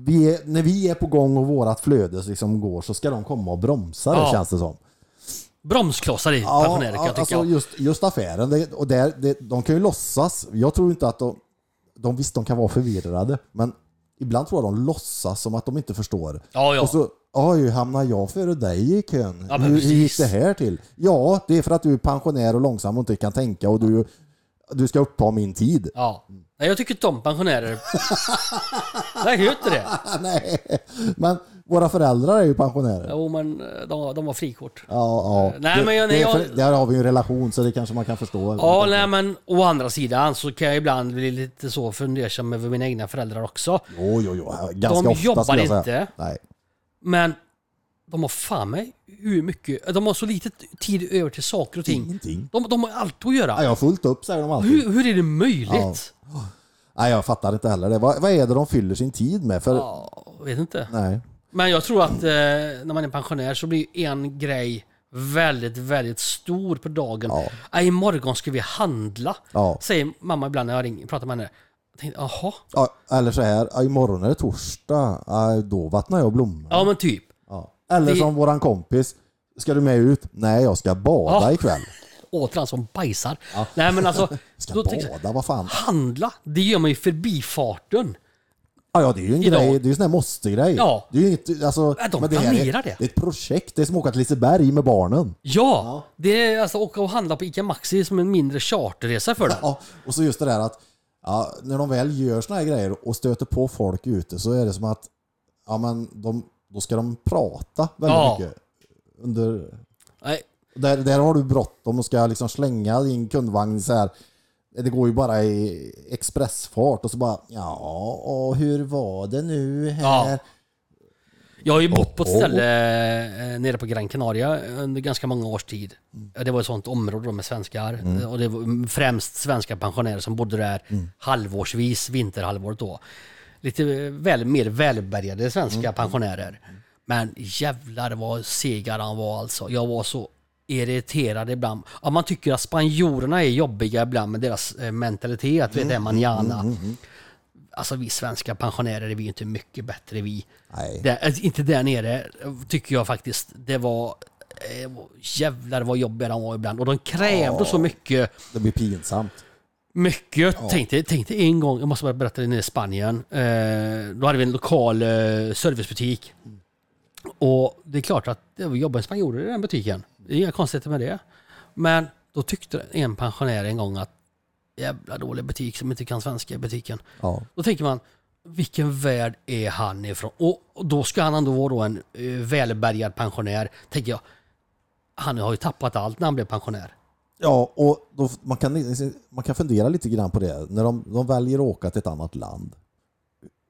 Speaker 2: vi är, när vi är på gång och vårat flöde liksom går så ska de komma och bromsa det
Speaker 1: Ja.
Speaker 2: känns det som.
Speaker 1: Bromsklossar i pensionärer kan jag tycka.
Speaker 2: alltså just, just affären. Det, och där, det, de kan ju låtsas. Jag tror inte att de... de visst, de kan vara förvirrade, men ibland tror jag de låtsas som att de inte förstår.
Speaker 1: Ja, ja.
Speaker 2: Och så, oj, hamnar jag före dig i kön?
Speaker 1: Ja, men
Speaker 2: hur, hur gick
Speaker 1: precis.
Speaker 2: det här till? Ja, det är för att du är pensionär och långsam och inte kan tänka och du, du ska uppta min tid.
Speaker 1: Ja. Nej, jag tycker inte om pensionärer. Nej, jag gör inte det.
Speaker 2: Nej, men våra föräldrar är ju pensionärer.
Speaker 1: Jo, men eh, de, de har frikort.
Speaker 2: Ja, ja.
Speaker 1: Nej,
Speaker 2: det,
Speaker 1: men jag-
Speaker 2: det är
Speaker 1: jag-
Speaker 2: för, där har vi ju en relation så det kanske man kan förstå.
Speaker 1: Ja, nej, men å andra sidan så kan jag ibland bli lite så fundersam över mina egna föräldrar också.
Speaker 2: Jo, jo, jo. Ganska
Speaker 1: De
Speaker 2: ofta
Speaker 1: jobbar
Speaker 2: skulle jag säga.
Speaker 1: inte.
Speaker 2: Nej.
Speaker 1: Men de har fan mig hur mycket... De har så lite tid över till saker och ting.
Speaker 2: Ingenting.
Speaker 1: De, de har allt att
Speaker 2: Ja,
Speaker 1: göra.
Speaker 2: jag har fullt upp säger de alltid.
Speaker 1: Hur, hur är det möjligt?
Speaker 2: Nej, jag fattar inte heller det. Vad, vad är det de fyller sin tid med? För,
Speaker 1: Ja, vet inte.
Speaker 2: Nej.
Speaker 1: Men jag tror att eh, när man är pensionär så blir en grej väldigt, väldigt stor på dagen.
Speaker 2: Ja.
Speaker 1: Ja. Imorgon ska vi handla,
Speaker 2: Ja.
Speaker 1: säger mamma ibland när jag ringer, pratar med henne. Jag tänkte, jaha?
Speaker 2: Ja, eller så här, ja, imorgon är det torsdag. Ja, då vattnar jag blommor.
Speaker 1: Ja men typ.
Speaker 2: Ja. Eller
Speaker 1: Det-
Speaker 2: som våran kompis. Ska du med ut? Nej, jag ska bada
Speaker 1: Ja.
Speaker 2: ikväll.
Speaker 1: Återigen som bajsar. Nej men alltså,
Speaker 2: Ska
Speaker 1: då tänkte jag,
Speaker 2: bada? Vad fan?
Speaker 1: handla, det gör man ju i förbifarten.
Speaker 2: Ja, ja, det är ju en
Speaker 1: Idag.
Speaker 2: grej. Det är ju en sån här måste-grej.
Speaker 1: Ja.
Speaker 2: Det är ju inte, alltså,
Speaker 1: Ja, de
Speaker 2: men det, här
Speaker 1: planerar
Speaker 2: är,
Speaker 1: det.
Speaker 2: det är ett projekt. Det är som att åka till Liseberg med barnen.
Speaker 1: Ja, det är alltså åka och handla på ICA Maxi som en mindre charterresa för dem.
Speaker 2: Ja, och så just det där att ja, när de väl gör såna här grejer och stöter på folk ute så är det som att ja, men de, då ska de prata väldigt
Speaker 1: Ja.
Speaker 2: mycket. Under,
Speaker 1: Nej,
Speaker 2: där, där har du bråttom och ska liksom slänga din kundvagn så här. Det går ju bara i expressfart och så bara ja, och hur var det nu här?
Speaker 1: Ja. Jag har ju bott på ett
Speaker 2: Oh, oh.
Speaker 1: ställe eh, nere på Gran Canaria under ganska många års tid. Det var ett sånt område då med svenskar och det var främst svenska pensionärer som bodde där halvårsvis, vinterhalvåret då. Lite väl, mer välbärgade svenska pensionärer. Men jävlar vad segare han var alltså. Jag var så irriterad ibland. Ja, man tycker att spanjorerna är jobbiga ibland med deras eh, mentalitet, vet det, manjana. Alltså vi svenska pensionärer är vi inte mycket bättre vi.
Speaker 2: Nej.
Speaker 1: Där, alltså, inte där nere, tycker jag faktiskt. Det var... eh, Jävlar vad jobbiga de var ibland. Och de krävde så mycket.
Speaker 2: Det blir pinsamt.
Speaker 1: Mycket. Tänk, dig, tänk dig en gång, jag måste bara berätta det nere i Spanien. Eh, då hade vi en lokal eh, servicebutik. Och det är klart att det jobbar spanjorer i den butiken. Det är inga konstigheter med det. Men då tyckte en pensionär en gång att jävla dålig butik som inte kan svenska i butiken.
Speaker 2: Ja.
Speaker 1: Då tänker man, vilken värld är han ifrån? Och och då ska han ändå vara då en eh, välbärgad pensionär, tänker jag. Han har ju tappat allt när han blev pensionär.
Speaker 2: Ja, och då, man, kan, liksom, man kan fundera lite grann på det. När de, de väljer att åka till ett annat land,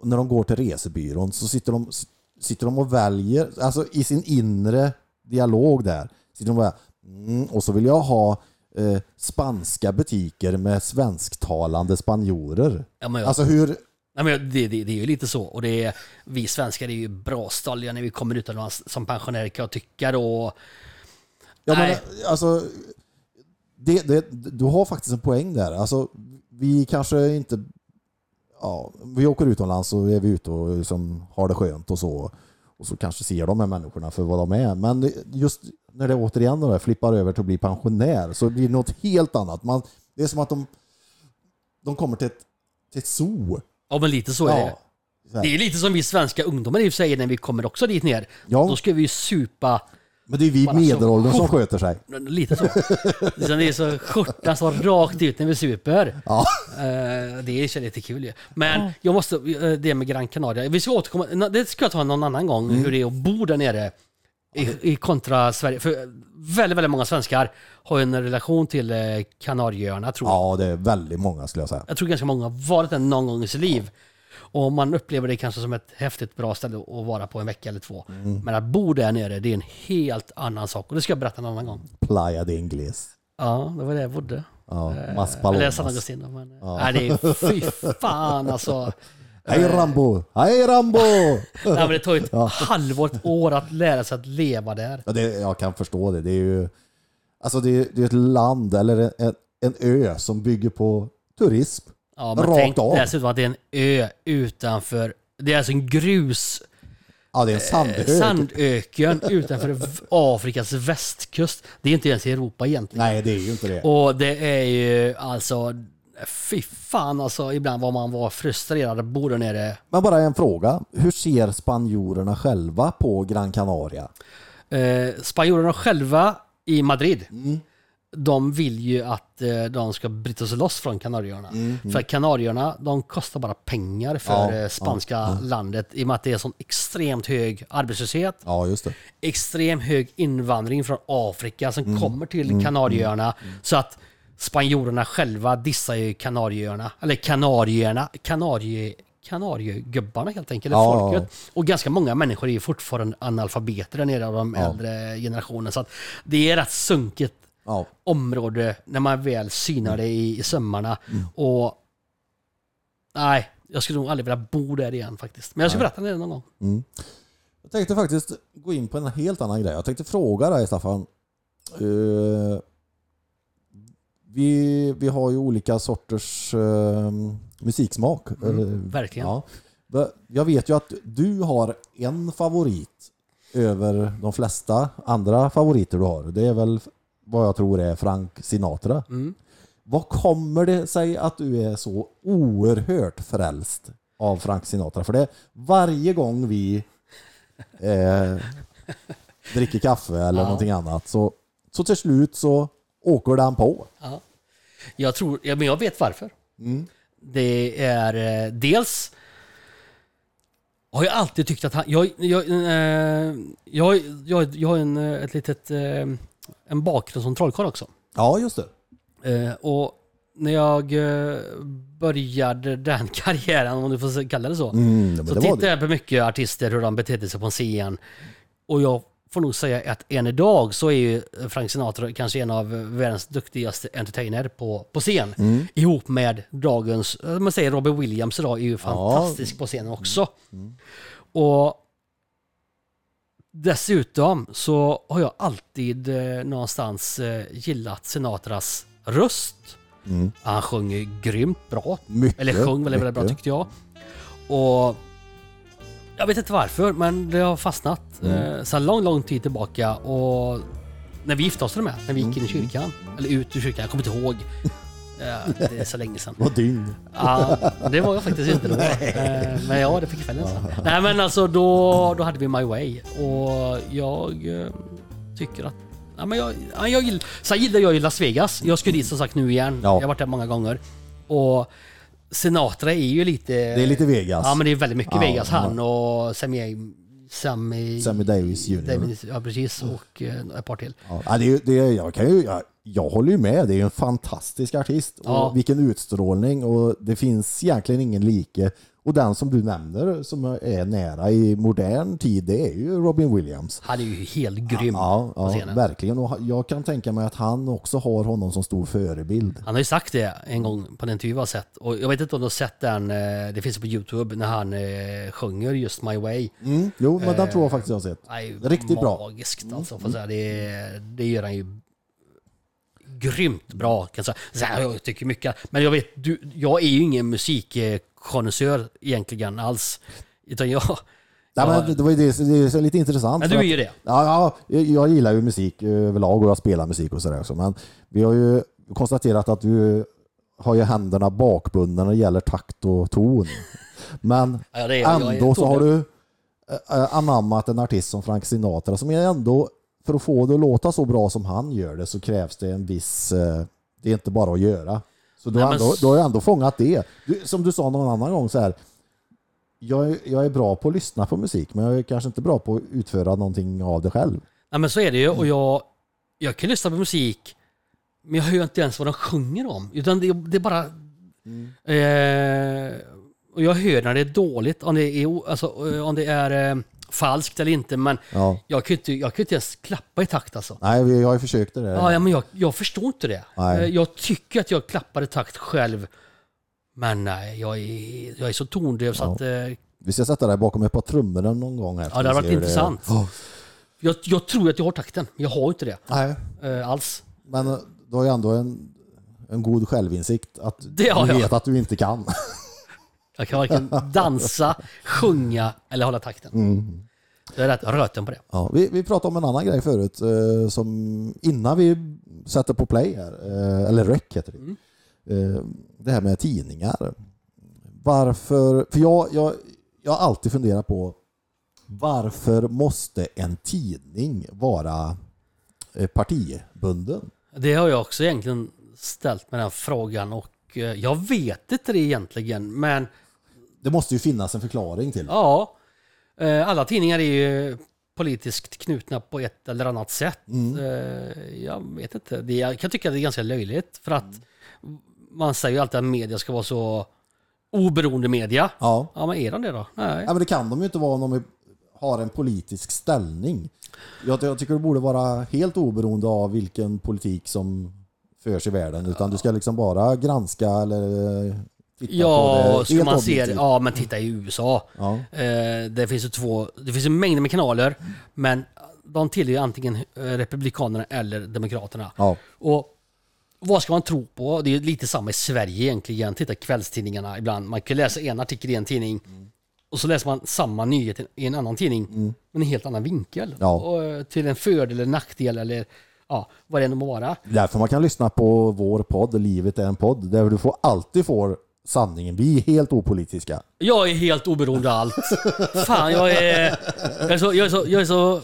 Speaker 2: och när de går till resebyrån så sitter de, sitter de och väljer, alltså i sin inre dialog där, sitter de bara, mm, och så vill jag ha eh, spanska butiker med svensktalande spanjorer.
Speaker 1: Ja, men jag,
Speaker 2: Alltså hur,
Speaker 1: nej, men det, det, det är ju lite så. Och det är, vi svenskar är ju bra stalliga när vi kommer utomlands som pensionärer kan jag tycka då.
Speaker 2: Ja, men,
Speaker 1: Nej.
Speaker 2: alltså, det, det, du har faktiskt en poäng där. Alltså, vi kanske inte... Ja, vi åker utomlands och är vi ute och liksom har det skönt och så. Och så kanske ser de här människorna för vad de är. Men just när det återigen då flippar över till att bli pensionär så blir det något helt annat. Man, det är som att de, de kommer till ett, till ett zoo.
Speaker 1: Ja men lite så är det.
Speaker 2: Ja.
Speaker 1: Det är lite som vi svenska ungdomar i och för sig när vi kommer också dit ner.
Speaker 2: Ja.
Speaker 1: Då ska vi ju supa
Speaker 2: Men det är vi
Speaker 1: Bara så-
Speaker 2: medelåldern som sköter sig.
Speaker 1: Lite så. Liksom det är så skjortan så rakt ut när vi super.
Speaker 2: Ja.
Speaker 1: Eh, det är lite kul ju. Men jag måste,
Speaker 2: Mm.
Speaker 1: eh, det med Gran Canaria. Vi ska återkomma, na- det ska jag ta någon annan gång, hur det är att bo där nere. I, i kontra Sverige. För väldigt, väldigt många svenskar har ju en relation till eh, Kanarieöarna tror jag.
Speaker 2: Ja, det är väldigt många skulle jag säga.
Speaker 1: Jag tror ganska många har varit där någon gång i sitt liv. Och man upplever det kanske som ett häftigt bra ställe att vara på en vecka eller två.
Speaker 2: Mm.
Speaker 1: Men att bo där nere, det är en helt annan sak. Och det ska jag berätta en annan gång.
Speaker 2: Playa de Ingles.
Speaker 1: Ja, det var där jag bodde.
Speaker 2: Ja, Mas
Speaker 1: Eller Eh, jag San
Speaker 2: Palomas.
Speaker 1: Agustin. då, Men, nej, det är, fy fan alltså.
Speaker 2: Hej Rambo! Hej Rambo!
Speaker 1: Nej, men det tar ju ett halvår, ett år att lära sig att leva där.
Speaker 2: Ja, det, jag kan förstå det. Det är ju alltså det är, det är ett land eller en, en ö som bygger på turism.
Speaker 1: Ja, men
Speaker 2: Rakt
Speaker 1: tänk alltså,
Speaker 2: av.
Speaker 1: dessutom att det är en ö utanför. Det är alltså en grus
Speaker 2: Ja,
Speaker 1: eh,
Speaker 2: det är en sandö.
Speaker 1: sandöken utanför v- Afrikas västkust. Det är inte ens i Europa egentligen.
Speaker 2: Nej, det är ju inte det.
Speaker 1: Och det är ju alltså, fy fan alltså ibland vad man var frustrerad att bo där nere.
Speaker 2: Men bara en fråga. Hur ser spanjorerna själva på Gran Canaria?
Speaker 1: Eh, spanjorerna själva i Madrid,
Speaker 2: Mm.
Speaker 1: de vill ju att eh, de ska bryta sig loss från Kanarieöarna. För att Kanarieöarna, de kostar bara pengar för
Speaker 2: Mm. Ja,
Speaker 1: eh, spanska landet i och med att det är sån extremt hög arbetslöshet.
Speaker 2: Ja, just det.
Speaker 1: extrem hög invandring från Afrika som kommer till Kanarieöarna. Så att spanjorerna själva dissar ju Kanarieöarna, eller Kanarieöarna, Kanarie, Kanariegubbarna helt enkelt, eller
Speaker 2: Ja,
Speaker 1: folket. Och ganska många människor är ju fortfarande analfabeter där nere av de äldre generationen. Så att det är rätt sunkigt
Speaker 2: Ja.
Speaker 1: område när man väl synar det i, i sömmarna. Och nej, jag skulle nog aldrig vilja bo där igen faktiskt. Men jag ska berätta det någon gång.
Speaker 2: Jag tänkte faktiskt gå in på en helt annan grej. Jag tänkte fråga dig Staffan. Eh, vi, vi har ju olika sorters eh, musiksmak. Eller-
Speaker 1: Verkligen.
Speaker 2: Ja. Va- Jag vet ju att du har en favorit över de flesta andra favoriter du har. Det är väl vad jag tror är Frank Sinatra. Vad kommer det sig att du är så oerhört frälst av Frank Sinatra? För det varje gång vi eh, dricker kaffe eller någonting annat så, så till slut så åker den på.
Speaker 1: Ja. Jag tror, ja, men jag vet varför. Det är eh, dels har jag alltid tyckt att han, jag, jag, eh, jag, jag, jag har en, eh, ett litet, eh, en bakgrund som trollkarl också.
Speaker 2: Ja, just det.
Speaker 1: Eh, och när jag eh, började den karriären, om du får kalla det så,
Speaker 2: Mm, men
Speaker 1: så
Speaker 2: det var
Speaker 1: tittade
Speaker 2: det.
Speaker 1: jag på mycket artister, hur de betedde sig på en scen. Och jag får nog säga att än idag så är ju Frank Sinatra kanske en av världens duktigaste entertainer på, på scen.
Speaker 2: Mm.
Speaker 1: Ihop med dagens, eh, man säger Robbie Williams idag, är ju fantastisk på scenen också.
Speaker 2: Mm.
Speaker 1: Och Dessutom så har jag alltid eh, någonstans eh, gillat Sinatras röst. Han sjöng ju grymt bra.
Speaker 2: Mm. Mycket,
Speaker 1: Eller sjöng väldigt, väldigt bra
Speaker 2: mycket.
Speaker 1: tyckte jag. Och jag vet inte varför, men det har fastnat eh, sedan lång, lång tid tillbaka. Och när vi gifte oss till och med, när vi gick in i kyrkan, eller ut ur kyrkan, jag kommer inte ihåg. Eh, det är så länge sedan.
Speaker 2: Vad dygn.
Speaker 1: Ja, det var jag faktiskt inte då. Eh, Men ja, det fick kvällen sen. Nej men alltså då, då hade vi My Way och jag eh, tycker att Ja, men jag, ja, jag gill, sen gillar jag ju Las Vegas. Jag ska dit som sagt nu igen.
Speaker 2: Ja.
Speaker 1: Jag har varit där många gånger. Och Sinatra är ju lite...
Speaker 2: Det är lite Vegas.
Speaker 1: Ja men det är väldigt mycket
Speaker 2: Ja,
Speaker 1: Vegas. Han och Sammy... Sammy,
Speaker 2: Sammy Davis Jr.
Speaker 1: Davis, ja precis. Och eh, ett par till.
Speaker 2: Ja, det är, ju- det är, jag, kan ju, jag, jag håller ju med, det är ju en fantastisk artist.
Speaker 1: Ja.
Speaker 2: Och vilken utstrålning och det finns egentligen ingen like. Och den som du nämner som är nära i modern tid, det är ju Robin Williams.
Speaker 1: Han är ju helt grym
Speaker 2: Ja,
Speaker 1: Mm. på
Speaker 2: ja
Speaker 1: scenen.
Speaker 2: verkligen. Och jag kan tänka mig att han också har honom som stor förebild.
Speaker 1: Han har ju sagt det en gång på den intervju jag har sett. Och jag vet inte om du har sett den, eh, det finns på Youtube, när han eh, sjunger just My Way.
Speaker 2: Mm. Jo, men den tror jag faktiskt jag har sett.
Speaker 1: Eh, Nej,
Speaker 2: Riktigt bra.
Speaker 1: magiskt alltså. Får säga. Det, det gör han ju grymt bra. Kan jag, säga. Så här, jag tycker mycket. Men jag vet, du, jag är ju ingen musikkonnässör egentligen alls. Utan jag... Ja.
Speaker 2: Nej, men det- det var ju det, det är så lite intressant.
Speaker 1: Men du
Speaker 2: för
Speaker 1: är
Speaker 2: att-
Speaker 1: ju det.
Speaker 2: Ja, ja, jag gillar ju musik överlag och jag spelar musik och sådär också. Men vi har ju konstaterat att du har ju händerna bakbundna när det gäller takt och ton. Men
Speaker 1: Ja, det är jag. Jag är
Speaker 2: ändå så har
Speaker 1: tonad.
Speaker 2: du eh, anammat en artist som Frank Sinatra som är ändå, för att få det att låta så bra som han gör det så krävs det en viss, eh, det är inte bara att göra. Så du,
Speaker 1: Nej,
Speaker 2: har
Speaker 1: men
Speaker 2: ändå,
Speaker 1: s-
Speaker 2: du har ju ändå fångat det. Du, som du sa någon annan gång så här, jag, är- jag är bra på att lyssna på musik, men jag är kanske inte bra på att utföra någonting av det själv.
Speaker 1: Ja, men så är det ju. Och
Speaker 2: Mm.
Speaker 1: jag, jag kan lyssna på musik, men jag hör ju inte ens vad de sjunger om. Utan det, det är bara...
Speaker 2: Mm.
Speaker 1: Eh, och jag hör när det är dåligt, om det är, o- alltså, eh, om det är eh, falskt eller inte. Men
Speaker 2: Ja.
Speaker 1: jag kan ju inte, jag kan ju inte ens klappa i takt alltså.
Speaker 2: Nej, vi- jag har ju försökt det där.
Speaker 1: Ja, ja, men jag, jag förstår inte det.
Speaker 2: Nej.
Speaker 1: Eh, Jag tycker att jag klappar i takt själv. Men nej, jag är, jag är så tondöv så
Speaker 2: Ja.
Speaker 1: att... Eh,
Speaker 2: Vi ska sätta dig bakom ett par trummor någon gång här.
Speaker 1: Ja, det hade
Speaker 2: Ska vi
Speaker 1: varit
Speaker 2: se hur
Speaker 1: intressant.
Speaker 2: Ja.
Speaker 1: jag, jag tror att jag har takten, men jag har ju inte det
Speaker 2: Nej,
Speaker 1: eh, alls.
Speaker 2: men eh, du har ju ändå en, en god självinsikt. Att
Speaker 1: Det har
Speaker 2: du
Speaker 1: jag.
Speaker 2: vet att du inte kan.
Speaker 1: Jag kan varken dansa, sjunga eller hålla takten. Jag är rätt röten på det.
Speaker 2: Ja, vi, vi pratade om en annan grej förut, eh, som innan vi sätter på play här, eh, eller rec heter
Speaker 1: Mm.
Speaker 2: det. Eh, det här med tidningar. Varför, för jag, jag, jag har alltid funderat på varför måste en tidning vara eh, partibunden?
Speaker 1: Det har jag också egentligen ställt med den frågan och eh, jag vet inte det egentligen, men
Speaker 2: Det måste ju finnas en förklaring till det.
Speaker 1: ja. eh, Alla tidningar är ju politiskt knutna på ett eller annat sätt.
Speaker 2: Mm.
Speaker 1: Eh, Jag vet inte. Det, jag kan tycka det är ganska löjligt för att man säger ju alltid att media ska vara så oberoende media.
Speaker 2: Ja.
Speaker 1: Ja, men är de det då? Nej.
Speaker 2: Ja, men det kan de ju inte vara om de har en politisk ställning. Jag, jag tycker det borde vara helt oberoende av vilken politik som förs i världen. Utan du ska liksom bara granska eller eh, titta på
Speaker 1: Ja,
Speaker 2: det.
Speaker 1: ska
Speaker 2: helt
Speaker 1: man se det.
Speaker 2: objektivt.
Speaker 1: Ja, men titta i USA.
Speaker 2: Ja.
Speaker 1: Eh, det finns ju två, det finns ju mängder med kanaler, men de tillhör ju antingen eh, Republikanerna eller Demokraterna.
Speaker 2: Ja.
Speaker 1: Och vad ska man tro på? Det är ju lite samma i Sverige egentligen. Titta kvällstidningarna ibland. Man kan läsa en artikel i en tidning
Speaker 2: Mm.
Speaker 1: och så läser man samma nyhet i en annan tidning, men i en helt annan vinkel.
Speaker 2: Ja.
Speaker 1: Och, eh, till en fördel eller nackdel eller ja, vad det än må vara.
Speaker 2: Därför man kan lyssna på vår podd, Livet är en podd, där du får, alltid får sanningen. Vi är helt opolitiska.
Speaker 1: Jag är helt oberoende av allt. Fan, jag är... Jag är så... Jag är så, jag är så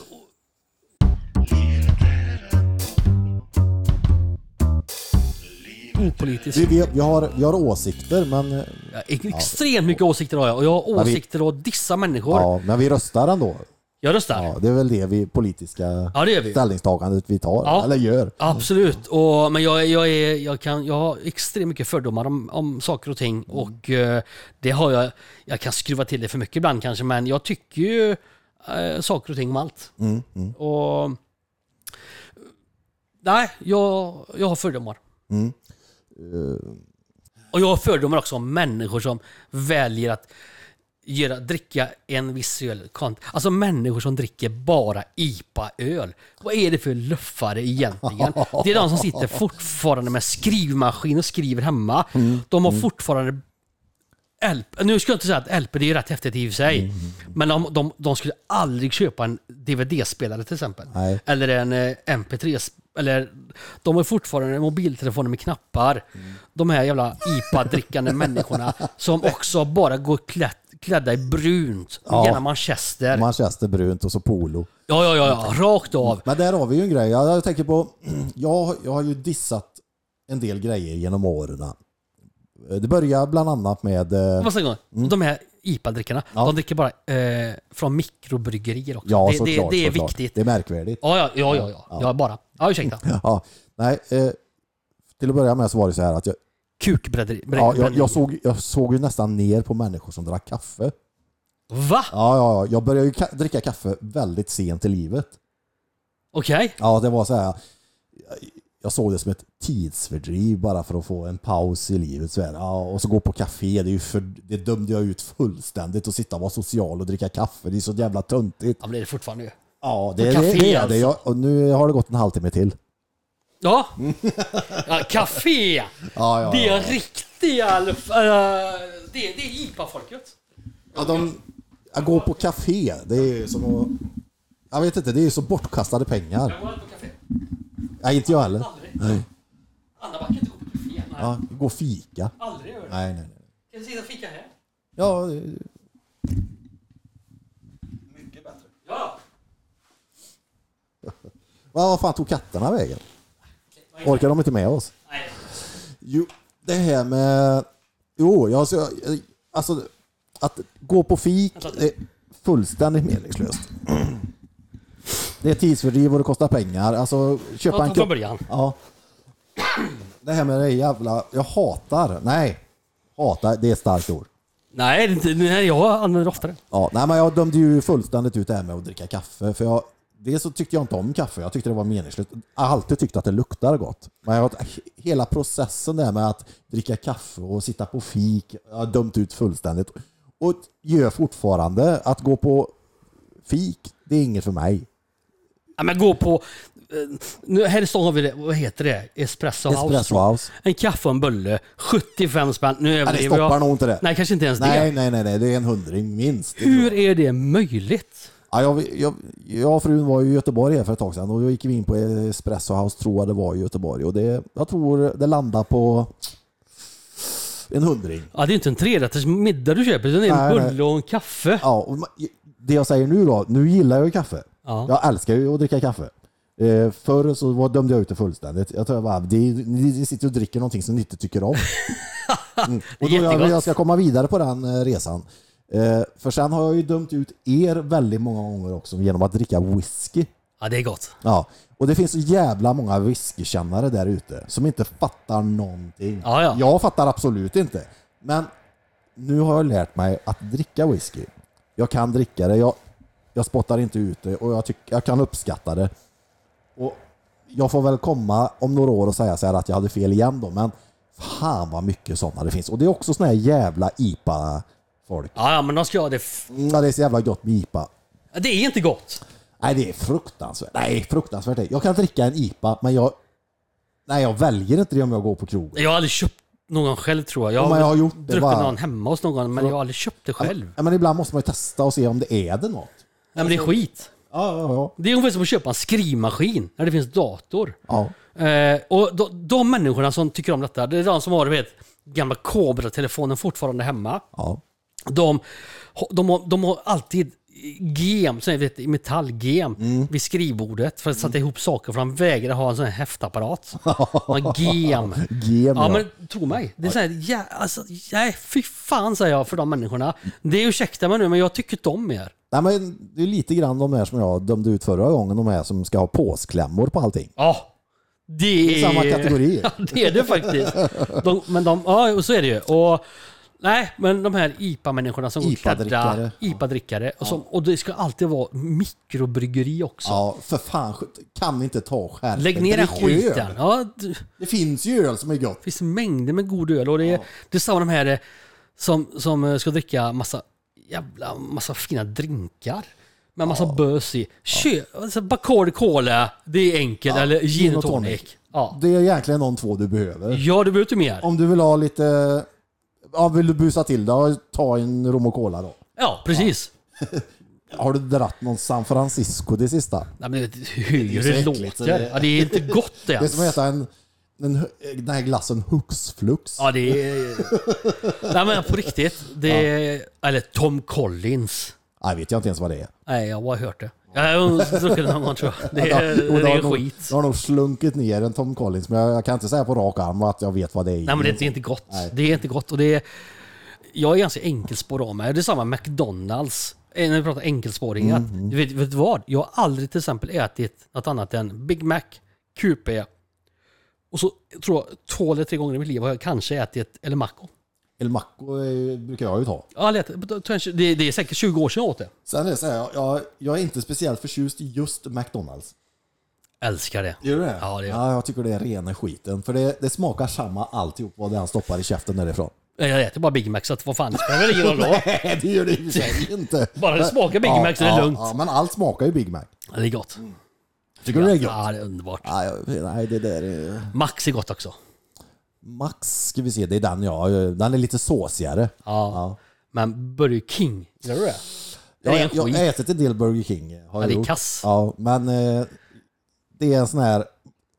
Speaker 1: opolitisk.
Speaker 2: Vi, vi, vi, har, vi har åsikter, men,
Speaker 1: Jag har extremt mycket åsikter har jag och jag har
Speaker 2: vi-
Speaker 1: åsikter och dissa människor.
Speaker 2: ja, men vi röstar ändå.
Speaker 1: Jag röstar.
Speaker 2: Ja, det är väl det vi politiska
Speaker 1: Ja, det gör vi.
Speaker 2: ställningstagandet vi tar,
Speaker 1: Ja.
Speaker 2: eller gör.
Speaker 1: Absolut, och, men jag, jag, är, jag, kan, jag har extremt mycket fördomar om, om saker och ting och eh, det har jag, jag kan skruva till det för mycket ibland kanske men jag tycker ju eh, saker och ting om allt. Och, nej, jag, jag har fördomar. Och jag har fördomar också om människor som väljer att göra, dricka en viss öl. kont- Alltså människor som dricker bara IPA-öl. Vad är det för luffare egentligen? Det är de som sitter fortfarande med skrivmaskin och skriver hemma. De har fortfarande LP. Nu ska jag inte säga att LP det är ju rätt häftigt i och för sig. Men de, de, de skulle aldrig köpa en DVD-spelare till exempel.
Speaker 2: Nej.
Speaker 1: Eller en eh, MP3. sp- Eller, de har fortfarande mobiltelefoner med knappar.
Speaker 2: Mm.
Speaker 1: De här jävla IPA-drickande människorna som också bara går klätt, klädda i brunt.
Speaker 2: Ja.
Speaker 1: Gärna manchester.
Speaker 2: Manchester brunt och så polo.
Speaker 1: Ja, ja, ja, ja. Rakt av.
Speaker 2: Men där har vi ju en grej. Jag tänker på, jag, jag har ju dissat en del grejer genom åren. Det börjar bland annat med, eh,
Speaker 1: Vad säger du? De här IPA-drickarna, de dricker bara eh, från mikrobryggerier också.
Speaker 2: ja
Speaker 1: det,
Speaker 2: såklart.
Speaker 1: det, det är
Speaker 2: såklart.
Speaker 1: viktigt.
Speaker 2: Det är märkvärdigt.
Speaker 1: Ja, ja, ja, ja, ja. ja bara. Ja, ursäkta.
Speaker 2: Ja, nej, eh, till att börja med så var det så här att jag,
Speaker 1: Kukbrädderi.
Speaker 2: ja, jag,
Speaker 1: bränneri.
Speaker 2: jag, såg, jag såg ju nästan ner på människor som drack kaffe.
Speaker 1: Va?
Speaker 2: Ja, ja, ja. Jag började ju ka- dricka kaffe väldigt sent i livet.
Speaker 1: Okej.
Speaker 2: Ja, det var så här. jag- Jag såg det som ett tidsfördriv bara för att få en paus i livet. Så här. Ja, och så gå på café, det, är ju för, det dömde jag ut fullständigt. Att sitta och vara social och dricka kaffe, det är så jävla töntigt.
Speaker 1: Ja, men det är det fortfarande ju.
Speaker 2: Ja, det, det,
Speaker 1: café
Speaker 2: det är
Speaker 1: alltså.
Speaker 2: det. Jag, och nu har det gått en halvtimme till.
Speaker 1: Ja. ja café.
Speaker 2: Ja, ja,
Speaker 1: Det
Speaker 2: ja.
Speaker 1: är riktiga... luff- eh, det, det är IPA-folket.
Speaker 2: Ja, de, att gå på café, det är ju som att... Jag vet inte, det är ju så bortkastade pengar.
Speaker 1: Jag går aldrig på café.
Speaker 2: Nej, inte jag heller.
Speaker 1: Aldrig. Anna backar inte gå på café. Nej.
Speaker 2: Ja, gå och fika.
Speaker 1: Aldrig gör det.
Speaker 2: Nej, nej, nej.
Speaker 1: Kan du sitta och fika här?
Speaker 2: Ja, det-
Speaker 1: Ja.
Speaker 2: vad vad fan tog katterna vägen? Orkar de inte med oss?
Speaker 1: Nej.
Speaker 2: Jo, det här med... Jo, jag, alltså, jag- alltså att gå på fik är fullständigt meningslöst. Det är tidsfördriv och det kostar pengar. Alltså, köpa
Speaker 1: Ta-
Speaker 2: en
Speaker 1: ta
Speaker 2: kopp-
Speaker 1: från början.
Speaker 2: Ja. Det här med det jävla... Jag hatar. Nej. Hatar, det är ett starkt ord.
Speaker 1: Nej, det är inte- nej, jag använder det oftare.
Speaker 2: Ja, nej, men jag dömde ju fullständigt ut det här med att dricka kaffe. För jag, dels så tyckte jag inte om kaffe. Jag tyckte det var meningslöst. Jag har alltid tyckt att det luktar gott. Men jag, har- hela processen där med att dricka kaffe och sitta på fik. Jag har dömt ut fullständigt. Och gör fortfarande. Att gå på fik, det är inget för mig.
Speaker 1: Ja, men gå på... eh, Nu, här i stan har vi det, vad heter det? Espresso House.
Speaker 2: Espresso House.
Speaker 1: En kaffe och en bulle. 75 spänn. Nu
Speaker 2: Nej, det
Speaker 1: överdriver
Speaker 2: stoppar
Speaker 1: jag.
Speaker 2: nog inte det.
Speaker 1: Nej, kanske inte ens
Speaker 2: Nej,
Speaker 1: det.
Speaker 2: nej, nej, nej. Det är en hundring minst.
Speaker 1: Hur är det möjligt?
Speaker 2: Ja, jag, jag, jag och frun var ju i Göteborg här för ett tag sedan och då gick vi in på Espresso House tror jag det var i Göteborg och det, jag tror det landade på en hundring.
Speaker 1: Ja, det är inte en trerätters middag du köper, utan det är en
Speaker 2: Nej, nej.
Speaker 1: bulle och en kaffe.
Speaker 2: Ja, och ma- det jag säger nu då, nu gillar jag ju kaffe.
Speaker 1: Ja.
Speaker 2: Jag älskar ju att dricka kaffe. Eh, förr så var, dömde jag ut det fullständigt. Jag tror jag bara, det, ni ni sitter och dricker någonting som ni inte tycker om. Mm. Och då jag,
Speaker 1: Jättegott.
Speaker 2: jag ska komma vidare på den eh, resan. Eh, för sen har jag ju dömt ut er väldigt många gånger också genom att dricka whisky.
Speaker 1: Ja, det är gott.
Speaker 2: Ja, och det finns så jävla många whiskykännare där ute som inte fattar någonting.
Speaker 1: Ja, ja.
Speaker 2: Jag fattar absolut inte. Men nu har jag lärt mig att dricka whisky. Jag kan dricka det, jag, jag spottar inte ut det och jag, tyck, jag kan uppskatta det. Och jag får väl komma om några år och säga så här att jag hade fel igen då, men fan vad mycket sådana det finns. Och det är också såna här jävla IPA-folk.
Speaker 1: Ja, ja men de ska ha det. f-
Speaker 2: Ja, det är så jävla gott med IPA.
Speaker 1: Ja, Det är inte gott.
Speaker 2: Nej, det är fruktansvärt. Nej, fruktansvärt. är- Jag kan dricka en IPA, men jag... Nej, jag väljer inte det om jag går på krogen.
Speaker 1: Jag har aldrig köpt någon själv tror jag. Jag
Speaker 2: Ja, men jag har gjort det
Speaker 1: druckit
Speaker 2: bara.
Speaker 1: någon hemma hos någon, men jag har aldrig köpt det själv.
Speaker 2: Ja, men ibland måste man ju testa och se om det är det något.
Speaker 1: Nej, men det är skit.
Speaker 2: Ja, ja, ja.
Speaker 1: Det är ungefär som att köpa en skrivmaskin när det finns dator.
Speaker 2: ja.
Speaker 1: Eh, och de, de människorna som tycker om detta, det är de som har du vet, gamla Cobra-telefonen fortfarande hemma.
Speaker 2: ja.
Speaker 1: De, de, har, de har alltid gem, sån här, vet, i metallgem
Speaker 2: Mm.
Speaker 1: vid skrivbordet för att sätta ihop saker för de vägrar ha en sån här häftapparat. Man gem.
Speaker 2: Gem,
Speaker 1: Ja
Speaker 2: ja.
Speaker 1: men tro mig. Det är så här, ja, alltså, nej fy fan säger jag för de människorna. Det är ursäkta mig nu men jag tycker inte om er.
Speaker 2: Nej, men det är lite grann de här som jag dömde ut förra gången, de här som ska ha påsklämmor på allting.
Speaker 1: Ja. Det är
Speaker 2: Samma kategori.
Speaker 1: Ja, det är det faktiskt. De, men de, ja, och så är det ju. Och, nej, men de här IPA-människorna som går
Speaker 2: IPA-drickare.
Speaker 1: klädda, IPA-drickare. Och, som, och det ska alltid vara mikrobryggeri också.
Speaker 2: Ja, för fan. skit- Kan inte ta skärpet.
Speaker 1: Lägg ner den
Speaker 2: Drick öl.
Speaker 1: skiten. Ja, det det
Speaker 2: Det finns ju öl som är gott.
Speaker 1: finns mängder med god öl och det är, det är samma de här eh, som, som eh, ska dricka massa jävla massa fina drinkar. Med massa bös i. Kö, alltså Bacardi Cola, det är enkelt. Eller gin och tonic. Ja.
Speaker 2: Det är egentligen de två du behöver.
Speaker 1: ja, du behöver inte mer.
Speaker 2: Om du vill ha lite... Ja, vill du busa till det, ja, ta en rom och cola då.
Speaker 1: Ja, precis.
Speaker 2: Har du dratt någon San Francisco det sista?
Speaker 1: Nej, men det, hur
Speaker 2: så
Speaker 1: det,
Speaker 2: äckligt, så
Speaker 1: låter.
Speaker 2: det-
Speaker 1: Ja, det är inte gott
Speaker 2: Det är
Speaker 1: ens.
Speaker 2: som att äta en, en, den här glassen Hux Flux.
Speaker 1: Ja, det är... Nej, men på riktigt. Det är... Eller Tom Collins.
Speaker 2: Nej, vet jag inte ens vad det är.
Speaker 1: Nej, jag har bara hört det. Jag har druckit det någon gång tror jag. Det är,
Speaker 2: Jo,
Speaker 1: det
Speaker 2: har
Speaker 1: är
Speaker 2: nog,
Speaker 1: skit.
Speaker 2: Jag har nog slunkit ner en Tom Collins, men jag, jag kan inte säga på rak arm att jag vet vad det är.
Speaker 1: Mm. Nej, men det är inte gott. Det är inte gott. Och det är... Jag är ganska enkelspårig av mig. Det är samma med McDonalds. Eh, När vi pratar enkelspåring. att- Du vet, vet du vad? Jag har aldrig till exempel ätit något annat än Big Mac, QP och så tror jag två eller tre gånger i mitt liv har jag kanske ätit El Maco.
Speaker 2: El Maco eh, brukar jag ju ta.
Speaker 1: Ja, lätt. Det, det är säkert 20 år sedan jag åt det.
Speaker 2: Sen är det så här, jag, jag, jag är inte speciellt förtjust i just McDonalds.
Speaker 1: Älskar det.
Speaker 2: Gör du det?
Speaker 1: Ja, det gör jag.
Speaker 2: ja, jag tycker det är rena skiten. För det, det smakar samma alltihop vad det han stoppar i käften därifrån.
Speaker 1: Jag äter bara Big Mac, så att vad fan spelar det ingen roll då?
Speaker 2: Nej, det gör det i och för sig inte.
Speaker 1: Bara det smakar Big Mac så är det
Speaker 2: ja,
Speaker 1: lugnt.
Speaker 2: Ja, men allt smakar ju Big Mac.
Speaker 1: Ja, Det är gott.
Speaker 2: Tycker du det är gott?
Speaker 1: Mm. Ja, det är underbart.
Speaker 2: Nej, jag- Nej, det där är...
Speaker 1: Max är gott också.
Speaker 2: Max ska vi se, det är den ja. Den är lite såsigare.
Speaker 1: Ja. Men Burger King, gör du det? Det
Speaker 2: Jag,
Speaker 1: är en
Speaker 2: jag, jag
Speaker 1: skit.
Speaker 2: har ätit en del Burger King. eh,
Speaker 1: Ja,
Speaker 2: Har jag
Speaker 1: det är
Speaker 2: gjort.
Speaker 1: kass.
Speaker 2: Ja, men eh, det är en sån här,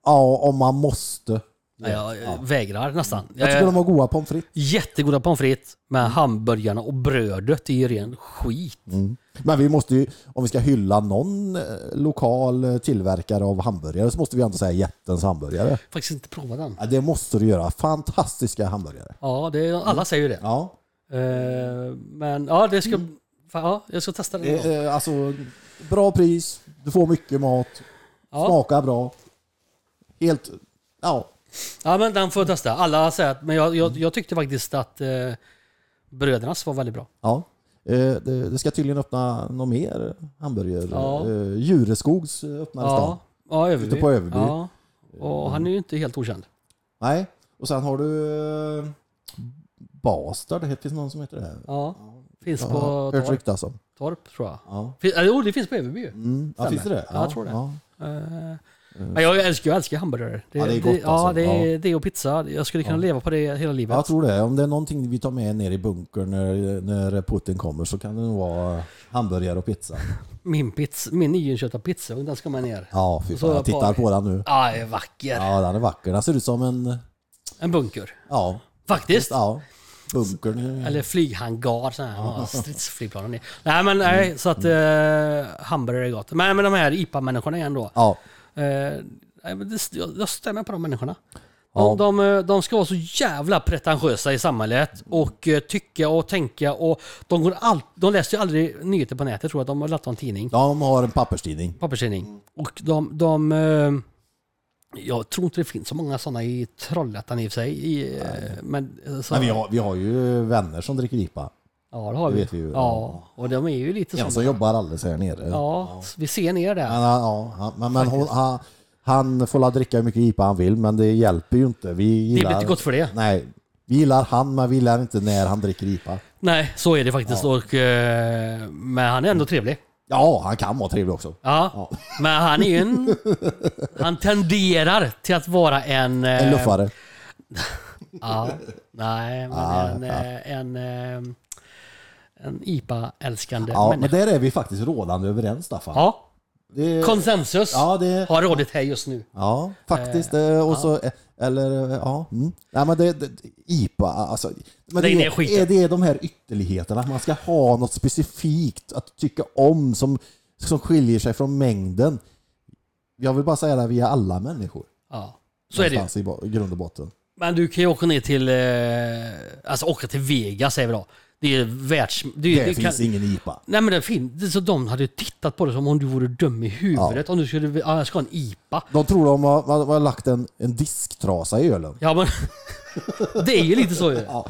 Speaker 2: ja om man måste.
Speaker 1: Ja, jag eh, vägrar nästan.
Speaker 2: Jag tycker
Speaker 1: Eh,
Speaker 2: de har goda pommes frites.
Speaker 1: Jättegoda pommes frites med hamburgarna och brödet är ju ren skit.
Speaker 2: Men vi måste ju, om vi ska hylla någon eh, lokal eh, tillverkare av hamburgare så måste vi ändå säga jättens hamburgare.
Speaker 1: Faktiskt inte provat den.
Speaker 2: Ja, det måste du göra. Fantastiska hamburgare.
Speaker 1: Ja, det, alla säger ju det.
Speaker 2: Ja.
Speaker 1: Eh, men ja, det ska... Fan, ja, jag ska testa det någon
Speaker 2: Eh,
Speaker 1: gång.
Speaker 2: eh, alltså, bra pris, du får mycket mat,
Speaker 1: ja.
Speaker 2: smakar bra. Helt... Ja.
Speaker 1: ja, men den får jag testa. Alla säger att... Men jag, jag, jag tyckte faktiskt att eh, Brödernas var väldigt bra.
Speaker 2: ja. Eh, det, det ska tydligen öppna någon mer hamburgare.
Speaker 1: Ja.
Speaker 2: Eh, Jureskogs öppnar i stan.
Speaker 1: Ja, ja Överby.
Speaker 2: Ute på Överby.
Speaker 1: Ja. Och han är ju inte helt okänd.
Speaker 2: Nej. Och sen har du... Eh, Bastard, det finns någon som heter det?
Speaker 1: Ja. Finns
Speaker 2: Ja,
Speaker 1: på
Speaker 2: Hört
Speaker 1: Torp,
Speaker 2: ryktas om.
Speaker 1: Torp tror jag.
Speaker 2: Ja.
Speaker 1: Fin, eller, jo, det finns på Överby ju.
Speaker 2: Mm. ja,
Speaker 1: Stämmer.
Speaker 2: finns det det?
Speaker 1: Ja, jag tror det.
Speaker 2: Ja.
Speaker 1: Eh, men jag älskar, jag älskar hamburgare. Det,
Speaker 2: Ja, det är gott alltså.
Speaker 1: ja, det, är-
Speaker 2: Ja.
Speaker 1: det och pizza. Jag skulle kunna leva på det hela livet.
Speaker 2: Ja, Jag tror det. Om det är någonting vi tar med ner i bunkern när, när Putin kommer så kan det nog vara hamburgare och pizza.
Speaker 1: Min, pizza, min nyinköpta pizzaugn, den ska man ner.
Speaker 2: Ja, fy
Speaker 1: Så
Speaker 2: fan. Jag tittar
Speaker 1: par-
Speaker 2: på den nu.
Speaker 1: Ja, det är vacker.
Speaker 2: Ja, den är vacker. Den ser ut som en...
Speaker 1: En bunker.
Speaker 2: Ja.
Speaker 1: Faktiskt.
Speaker 2: Ja. Bunkern.
Speaker 1: Eller flyghangar, sån här ja. stridsflygplanen i. Nej men nej, så
Speaker 2: Mm.
Speaker 1: att eh, hamburgare är gott. Men, men de här IPA-människorna igen då.
Speaker 2: Ja.
Speaker 1: Eh, nej, men det, jag jag stämmer på de människorna.
Speaker 2: Ja.
Speaker 1: De, de, eh, de ska vara så jävla pretentiösa i samhället och eh, tycka och tänka och de, går all, de läser ju aldrig nyheter på nätet tror jag. De har lagt en tidning,
Speaker 2: De har en papperstidning. Mm.
Speaker 1: papperstidning. Och de, de eh, jag tror inte det finns så många sådana i Trollhättan i och för sig. I, eh, men, eh, så,
Speaker 2: Men vi har, vi har ju vänner som dricker IPA.
Speaker 1: ja, det har
Speaker 2: det
Speaker 1: vi.
Speaker 2: vet vi ju.
Speaker 1: Ja, och de är ju lite
Speaker 2: En
Speaker 1: sådana.
Speaker 2: som jobbar alldeles här nere.
Speaker 1: Ja, vi ser ner där.
Speaker 2: Men, ja, han- men, men hon, han, han får la dricka hur mycket IPA han vill, men det hjälper ju inte. Vi
Speaker 1: Det
Speaker 2: gillar,
Speaker 1: blir inte gott för det.
Speaker 2: Nej. Vi gillar han, men vi gillar inte när han dricker IPA.
Speaker 1: Nej, så är det faktiskt. Och, eh, men han är ändå trevlig.
Speaker 2: Ja, han kan vara trevlig också.
Speaker 1: Ja, men han är ju en... Han tenderar till att vara en... eh,
Speaker 2: En luffare.
Speaker 1: Ja, nej, men
Speaker 2: Ah, Ja,
Speaker 1: en, eh, en, eh, en IPA-älskande
Speaker 2: Ja, men
Speaker 1: människa.
Speaker 2: där är vi faktiskt rådande överens, Staffan.
Speaker 1: Ja,
Speaker 2: Det,
Speaker 1: konsensus
Speaker 2: ja, det,
Speaker 1: har rådit här just nu.
Speaker 2: Ja, faktiskt. Eh, och så, eh, eller eh, ja. Mm. Nej, men det, det, IPA, alltså. Men
Speaker 1: Lägg ner
Speaker 2: det,
Speaker 1: skiten.
Speaker 2: är, det är de här ytterligheterna. Man ska ha något specifikt att tycka om som, som skiljer sig från mängden. Jag vill bara säga det, här, vi är alla människor.
Speaker 1: Ja, så är det ju.
Speaker 2: någonstans i bo- grund och botten.
Speaker 1: Men du kan ju åka ner till... Eh, alltså åka till Vegas säger vi då. Det är ju världs... Det, är
Speaker 2: Det,
Speaker 1: ju- det kan,
Speaker 2: finns ingen IPA.
Speaker 1: Nej men det är fint. Det är Så de hade ju tittat på det som om du vore dum i huvudet. Om du skulle, ja, jag ska ha en IPA.
Speaker 2: De tror de har, har, har lagt en, en disktrasa i ölen.
Speaker 1: Ja men, det är ju lite så ju.
Speaker 2: Ja.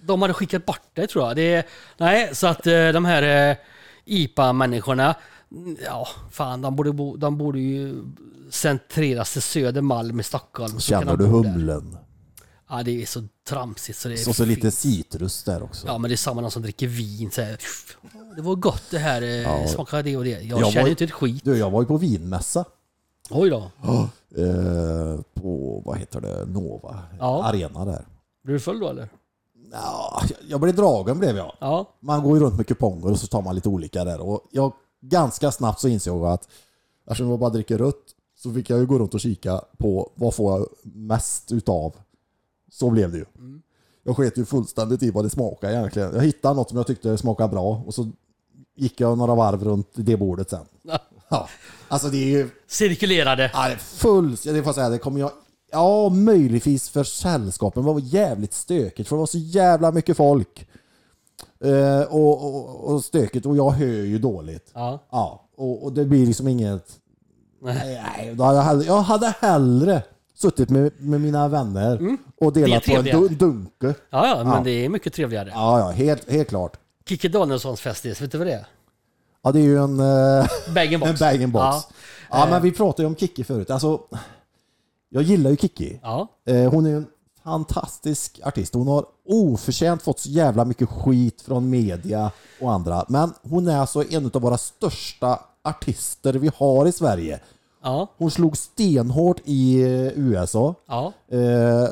Speaker 1: De hade skickat bort det tror jag. Det, är- nej, så att eh, de här eh, IPA-människorna, mm, ja fan de borde, bo, de borde ju centreras till Södermalm i Stockholm. Så kan
Speaker 2: Känner
Speaker 1: de
Speaker 2: du
Speaker 1: bo där.
Speaker 2: humlen?
Speaker 1: Ja det är så tramsigt så det är
Speaker 2: Och så
Speaker 1: fint.
Speaker 2: lite citrus där också.
Speaker 1: Ja men det är samma någon som dricker vin så här. Det var gott det här, ja. smakade det och det. Jag,
Speaker 2: Jag
Speaker 1: känner
Speaker 2: var-
Speaker 1: ju inte ett skit.
Speaker 2: Du, jag var ju på vinmässa.
Speaker 1: Oj då,
Speaker 2: eh, på, vad heter det, Nova
Speaker 1: Ja.
Speaker 2: Arena där.
Speaker 1: blev du full då eller?
Speaker 2: Ja, jag- jag blev dragen blev jag.
Speaker 1: Ja.
Speaker 2: Man går ju runt med kuponger och så tar man lite olika där och jag ganska snabbt så insåg jag att eftersom jag bara dricker rött så fick jag ju gå runt och kika på vad får jag mest utav. Så blev det ju. Jag sket ju fullständigt i vad det smakade egentligen. Jag hittade något som jag tyckte smakade bra och så gick jag några varv runt det bordet sen. Ja, alltså det är ju
Speaker 1: Cirkulerade.
Speaker 2: Ja, det är full, ja, det får jag säga, det kommer jag... Ja, möjligtvis för sällskapen. Det var jävligt stökigt för det var så jävla mycket folk. Eh, och, och, och stökigt och jag hör ju dåligt.
Speaker 1: Ja.
Speaker 2: Ja, och, och det blir liksom inget... Nej, nej då hade jag, hellre, jag hade hellre suttit med, med mina vänner och delat på en
Speaker 1: trevligare.
Speaker 2: dun, dunke.
Speaker 1: Ja, ja, men det är mycket trevligare.
Speaker 2: Ja, ja, helt, helt klart.
Speaker 1: Kikki Danielssons festis, vet du vad det är?
Speaker 2: Ja, det är ju en... eh,
Speaker 1: Bag-in-box.
Speaker 2: En bag box. Ja, Eh.
Speaker 1: Ja.
Speaker 2: men vi pratade ju om Kikki förut. Alltså, jag gillar ju Kikki.
Speaker 1: Ja.
Speaker 2: Eh, Hon är ju en fantastisk artist. Hon har oförtjänt fått så jävla mycket skit från media och andra. Men hon är alltså en av våra största artister vi har i Sverige.
Speaker 1: Ja.
Speaker 2: Hon slog stenhårt i eh, USA.
Speaker 1: Ja.
Speaker 2: Eh,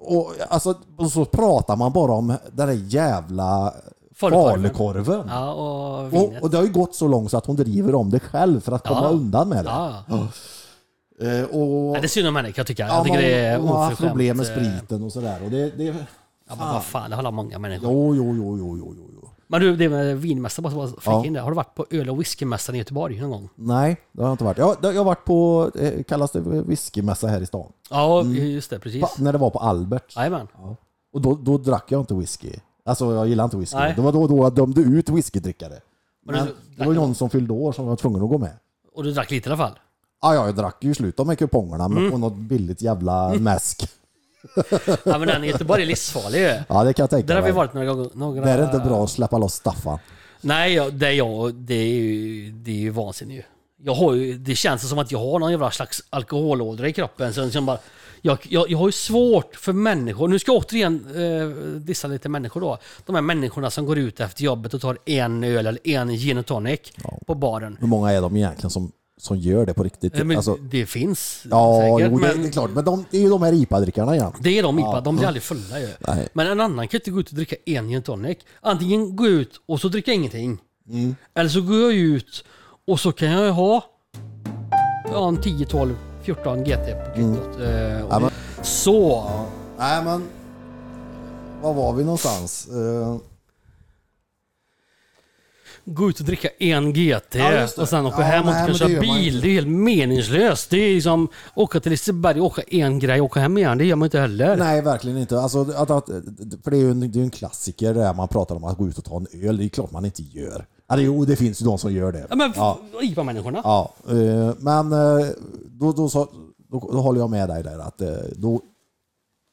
Speaker 2: och, alltså, och så pratar man bara om den där jävla
Speaker 1: Falukorven.
Speaker 2: falukorven.
Speaker 1: Ja, och
Speaker 2: Och,
Speaker 1: vinet.
Speaker 2: och det har ju gått så långt så att hon driver om det själv för att komma
Speaker 1: Ja.
Speaker 2: undan med det.
Speaker 1: Ja.
Speaker 2: Eh, och,
Speaker 1: Ja, det är synd om henne kan jag tycka.
Speaker 2: ja,
Speaker 1: Jag tycker
Speaker 2: men
Speaker 1: det är
Speaker 2: hon, hon har haft
Speaker 1: oförskämt.
Speaker 2: problem med
Speaker 1: eh,
Speaker 2: spriten och sådär. Och det, det,
Speaker 1: Ja, men vad fan, det har alla många människor.
Speaker 2: jo, jo, jo, jo, jo, jo, jo.
Speaker 1: Men du, det med vinmässan, bara bara flika
Speaker 2: Ja.
Speaker 1: in det. Har du varit på öl och whiskymässan i Göteborg någon gång?
Speaker 2: Nej, det har jag inte varit. Jag, jag har varit på, eh, kallas det whiskymässa här i stan? Mm.
Speaker 1: Ja, just det, precis.
Speaker 2: Pa, när det var på Albert.
Speaker 1: Jajamän.
Speaker 2: Och då, då drack jag inte whisky. Alltså jag gillar inte whisky.
Speaker 1: Nej.
Speaker 2: Det var då och då jag dömde ut whiskydrickare.
Speaker 1: Men alltså, du-
Speaker 2: Men det var ju någon som fyllde år som var tvungen att gå med.
Speaker 1: Och du drack lite i alla fall?
Speaker 2: Ah, ja, jag drack ju slut de här kupongerna
Speaker 1: Mm.
Speaker 2: men på något billigt jävla mäsk.
Speaker 1: Ja men den i Göteborg är livsfarlig ju.
Speaker 2: Ja, det kan jag tänka
Speaker 1: Där har vi
Speaker 2: mig.
Speaker 1: varit några gånger. Några...
Speaker 2: Det är inte bra att släppa loss Staffan.
Speaker 1: Nej, jag- det är jag. Det är ju, det är ju vansinnigt ju. Jag har ju, det känns som att jag har någon jävla slags alkoholådra i kroppen. Så som bara, jag, jag, jag har ju svårt för människor. Nu ska jag återigen eh, dissa lite människor då. De här människorna som går ut efter jobbet och tar en öl eller en gin och tonic på baren.
Speaker 2: Hur många är de egentligen som, som gör det på riktigt?
Speaker 1: Eh, Men
Speaker 2: alltså,
Speaker 1: det finns
Speaker 2: ja,
Speaker 1: säkert.
Speaker 2: jo, det,
Speaker 1: men
Speaker 2: det är klart. Men de, det är ju de här IPA-drickarna igen.
Speaker 1: det är de IPA, de blir aldrig fulla ju.
Speaker 2: Nej.
Speaker 1: Men en annan kan inte gå ut och dricka en gin och tonic. Antingen gå ut och så dricka ingenting.
Speaker 2: Mm.
Speaker 1: Eller så går jag ut och så kan jag ju ha ja, en 10, 12, 14 GT på kvittot. Eh, och
Speaker 2: Mm. Ja, men-
Speaker 1: det- Så!
Speaker 2: Nej, men... Var var vi någonstans? Eh,
Speaker 1: Gå ut och dricka en GT
Speaker 2: Ja, just det.
Speaker 1: och sen åka
Speaker 2: Ja,
Speaker 1: hem och inte
Speaker 2: nej,
Speaker 1: kunna
Speaker 2: men
Speaker 1: köra
Speaker 2: det gör man
Speaker 1: bil.
Speaker 2: inte.
Speaker 1: Det är helt meningslöst. Det är liksom åka till Liseberg och åka en grej och åka hem igen. Det gör man inte heller.
Speaker 2: nej, verkligen inte. Alltså, att, att, för det är ju en, det är ju en klassiker där man pratar om att gå ut och ta en öl. Det är klart man inte gör. Eller jo, det finns ju de som gör det.
Speaker 1: Ja, men
Speaker 2: Ja.
Speaker 1: IPA-människorna.
Speaker 2: Ja, eh, men eh, då, då, sa- då, då håller jag med dig där att eh, då,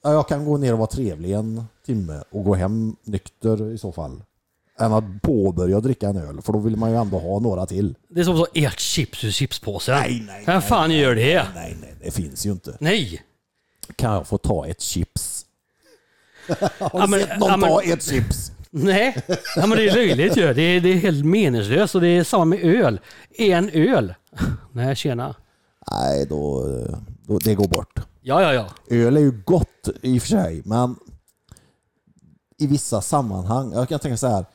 Speaker 2: ja, jag kan gå ner och vara trevlig en timme och gå hem nykter i så fall. Än att påbörja att dricka en öl, för då vill man ju ändå ha några till.
Speaker 1: Det är som så ert chips ur chipspåsen.
Speaker 2: Nej, nej,
Speaker 1: Vem fan gör det?
Speaker 2: Nej, nej, det finns ju inte.
Speaker 1: Nej!
Speaker 2: Kan jag få ta ett chips? Har
Speaker 1: Ja,
Speaker 2: du
Speaker 1: men-
Speaker 2: sett någon
Speaker 1: ja, men-
Speaker 2: ta ett chips?
Speaker 1: Nej, ja, men det är löjligt ju. Det är, det är helt meningslöst och det är samma med öl. En öl. Nej, tjena.
Speaker 2: Nej, då, eh, då, det går bort.
Speaker 1: Ja, ja, ja.
Speaker 2: Öl är ju gott i och för sig, men i vissa sammanhang. Jag kan tänka så här.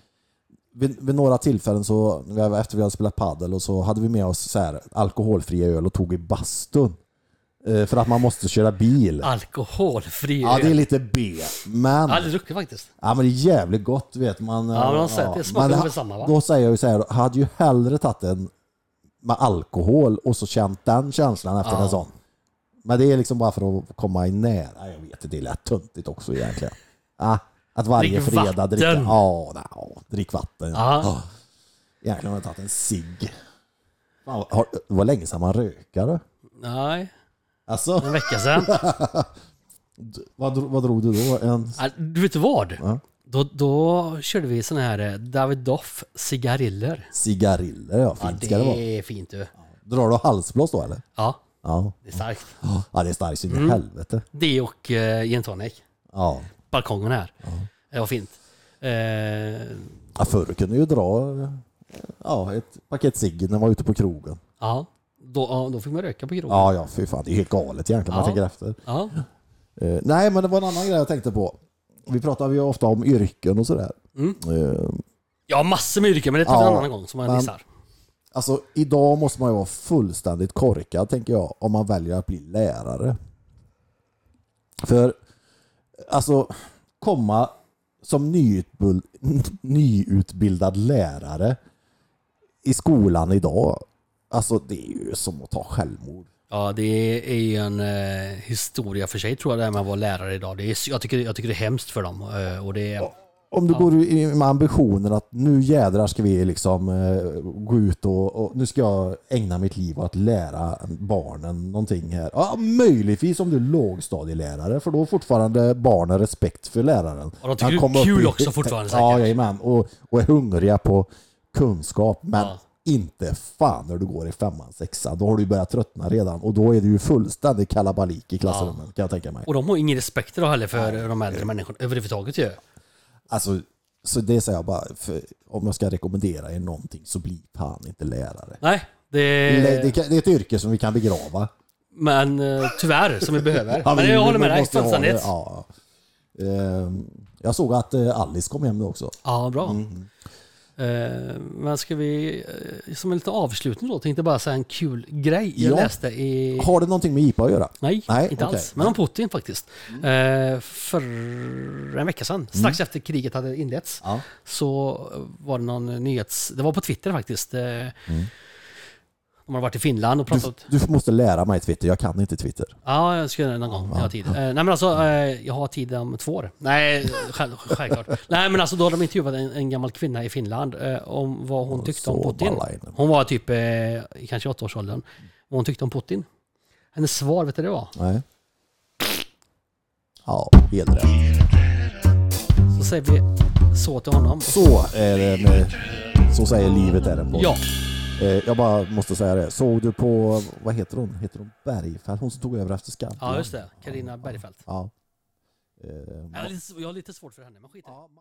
Speaker 2: Vid, vid några tillfällen så, när vi- efter vi hade spelat padel och så hade vi med oss så här, alkoholfria öl och tog i bastun. Eh, För att man måste köra bil.
Speaker 1: Alkoholfri
Speaker 2: Ja, det är
Speaker 1: öl.
Speaker 2: lite B. Men,
Speaker 1: Aldrig druckit faktiskt.
Speaker 2: ja, men det är jävligt gott vet man. eh,
Speaker 1: Ja, men de säger att det smakar
Speaker 2: men
Speaker 1: ungefär samma, va?
Speaker 2: Då säger jag ju så här, hade ju hellre tagit en med alkohol och så känt den känslan efter en sån. Men det är liksom bara för att komma i nära. Jag vet inte, det lät töntigt också egentligen. Ah, att varje
Speaker 1: Drick
Speaker 2: fredag
Speaker 1: vatten.
Speaker 2: dricka... Ja, nej, ja, drick vatten.
Speaker 1: Ja.
Speaker 2: Ja. Egentligen har jag tagit en cigg. Fan, har- Det var länge sedan man rökade.
Speaker 1: Nej,
Speaker 2: Alltså,
Speaker 1: en vecka sedan.
Speaker 2: vad, dro- vad drog du då? En...
Speaker 1: Ja, Äh, Du vet vad?
Speaker 2: Ja.
Speaker 1: Då, då körde vi såna här eh, David Doff cigariller.
Speaker 2: Cigariller, ja.
Speaker 1: Ja,
Speaker 2: Fint
Speaker 1: det
Speaker 2: ska det vara.
Speaker 1: är fint du.
Speaker 2: Drar du halsblås då eller?
Speaker 1: Ja,
Speaker 2: Ja.
Speaker 1: det är starkt.
Speaker 2: Ja, det är starkt så in i helvete.
Speaker 1: Det och eh, gin tonic.
Speaker 2: Ja.
Speaker 1: Balkongen här. Det var fint. Eh,
Speaker 2: ja, förr kunde ju dra ja, ett paket cigg när man var ute på krogen.
Speaker 1: ja, då, ja, då fick man röka på krogen.
Speaker 2: Ja, ja, fy fan. Det är helt galet egentligen om man
Speaker 1: Ja.
Speaker 2: tänker efter.
Speaker 1: Ja.
Speaker 2: Eh, nej, men det var en annan grej jag tänkte på. Vi pratar ju ofta om yrken och sådär. Eh,
Speaker 1: Jag har massor med yrken men det tar vi en
Speaker 2: Ja,
Speaker 1: annan gång som man
Speaker 2: men-
Speaker 1: dissar.
Speaker 2: alltså, idag måste man ju vara fullständigt korkad, tänker jag, om man väljer att bli lärare. För, alltså, komma som nyutbul- nyutbildad lärare i skolan idag, alltså det är ju som att ta självmord.
Speaker 1: Ja, det är ju en eh, historia för sig tror jag det här med att vara lärare idag. Det är, jag, tycker, jag tycker det är hemskt för dem. Eh, och det är,
Speaker 2: Om du går i- med ambitionen att nu jädrar ska vi liksom eh, gå ut och, och nu ska jag ägna mitt liv åt att lära barnen någonting här. Ja, möjligtvis om du är lågstadielärare för då har fortfarande barnen respekt för läraren.
Speaker 1: Och de tycker
Speaker 2: Han
Speaker 1: det är
Speaker 2: kommer upp
Speaker 1: kul
Speaker 2: i-
Speaker 1: också fortfarande
Speaker 2: Ja,
Speaker 1: säkert.
Speaker 2: jajamän. Och, och är hungriga på kunskap men
Speaker 1: Ja.
Speaker 2: inte fan när du går i femman, sexan. Då har du ju börjat tröttna redan och då är det ju fullständig kalabalik i klassrummen kan jag tänka mig.
Speaker 1: och de har ingen respekt idag heller för de äldre människorna överhuvudtaget ju.
Speaker 2: Alltså, så det säger jag bara, för om jag ska rekommendera er någonting så bli fan inte lärare.
Speaker 1: Nej,
Speaker 2: Det, det,
Speaker 1: det,
Speaker 2: kan- det är ett yrke som vi kan begrava.
Speaker 1: men eh, tyvärr som vi behöver.
Speaker 2: Ja,
Speaker 1: men
Speaker 2: vi-
Speaker 1: jag håller
Speaker 2: vi
Speaker 1: med dig,
Speaker 2: måste ha det,
Speaker 1: fullständigt. Ja.
Speaker 2: Ja. Ehm, Jag såg att eh, Alice kom hem nu också.
Speaker 1: bra.
Speaker 2: Mm.
Speaker 1: Eh, men ska vi, eh, som en liten avslutning då, tänkte bara säga en kul grej jag
Speaker 2: Ja.
Speaker 1: läste i...
Speaker 2: Har det någonting med IPA att göra?
Speaker 1: Eh. Nej,
Speaker 2: Nej, Mm.
Speaker 1: inte
Speaker 2: okej.
Speaker 1: alls. Men om Putin faktiskt. Eh, för en vecka sedan, strax efter kriget hade inletts,
Speaker 2: Mm. Ja.
Speaker 1: så var det någon nyhets... Det var på Twitter faktiskt. Eh, De har varit i Finland och
Speaker 2: Mm. Du,
Speaker 1: pratat...
Speaker 2: du måste lära mig Twitter, jag kan inte Twitter.
Speaker 1: Ja, jag ska göra det någon gång. Jag har tid. Eh, nej men alltså, eh, jag har tid om två år. Nej, själv, självklart. nej men alltså då har de intervjuat en, en gammal kvinna i Finland eh, om vad hon tyckte om
Speaker 2: så
Speaker 1: Putin.
Speaker 2: balla in.
Speaker 1: Hon var typ eh, i kanske åttaårsåldern. Vad hon tyckte om Putin. Hennes svar, vet du det var?
Speaker 2: Nej. Ja, helt rätt.
Speaker 1: Så säger vi så till honom.
Speaker 2: Så är det med, Så säger livet är en podd.
Speaker 1: Ja,
Speaker 2: Eh, jag bara måste säga det. Såg du på, vad heter hon? Heter hon Bergfeldt? Hon som tog över efter Skavlan.
Speaker 1: ja just det. Karina Bergfeldt.
Speaker 2: Ja. Eh,
Speaker 1: Jag har lite- Jag har lite svårt för henne, men skit i det.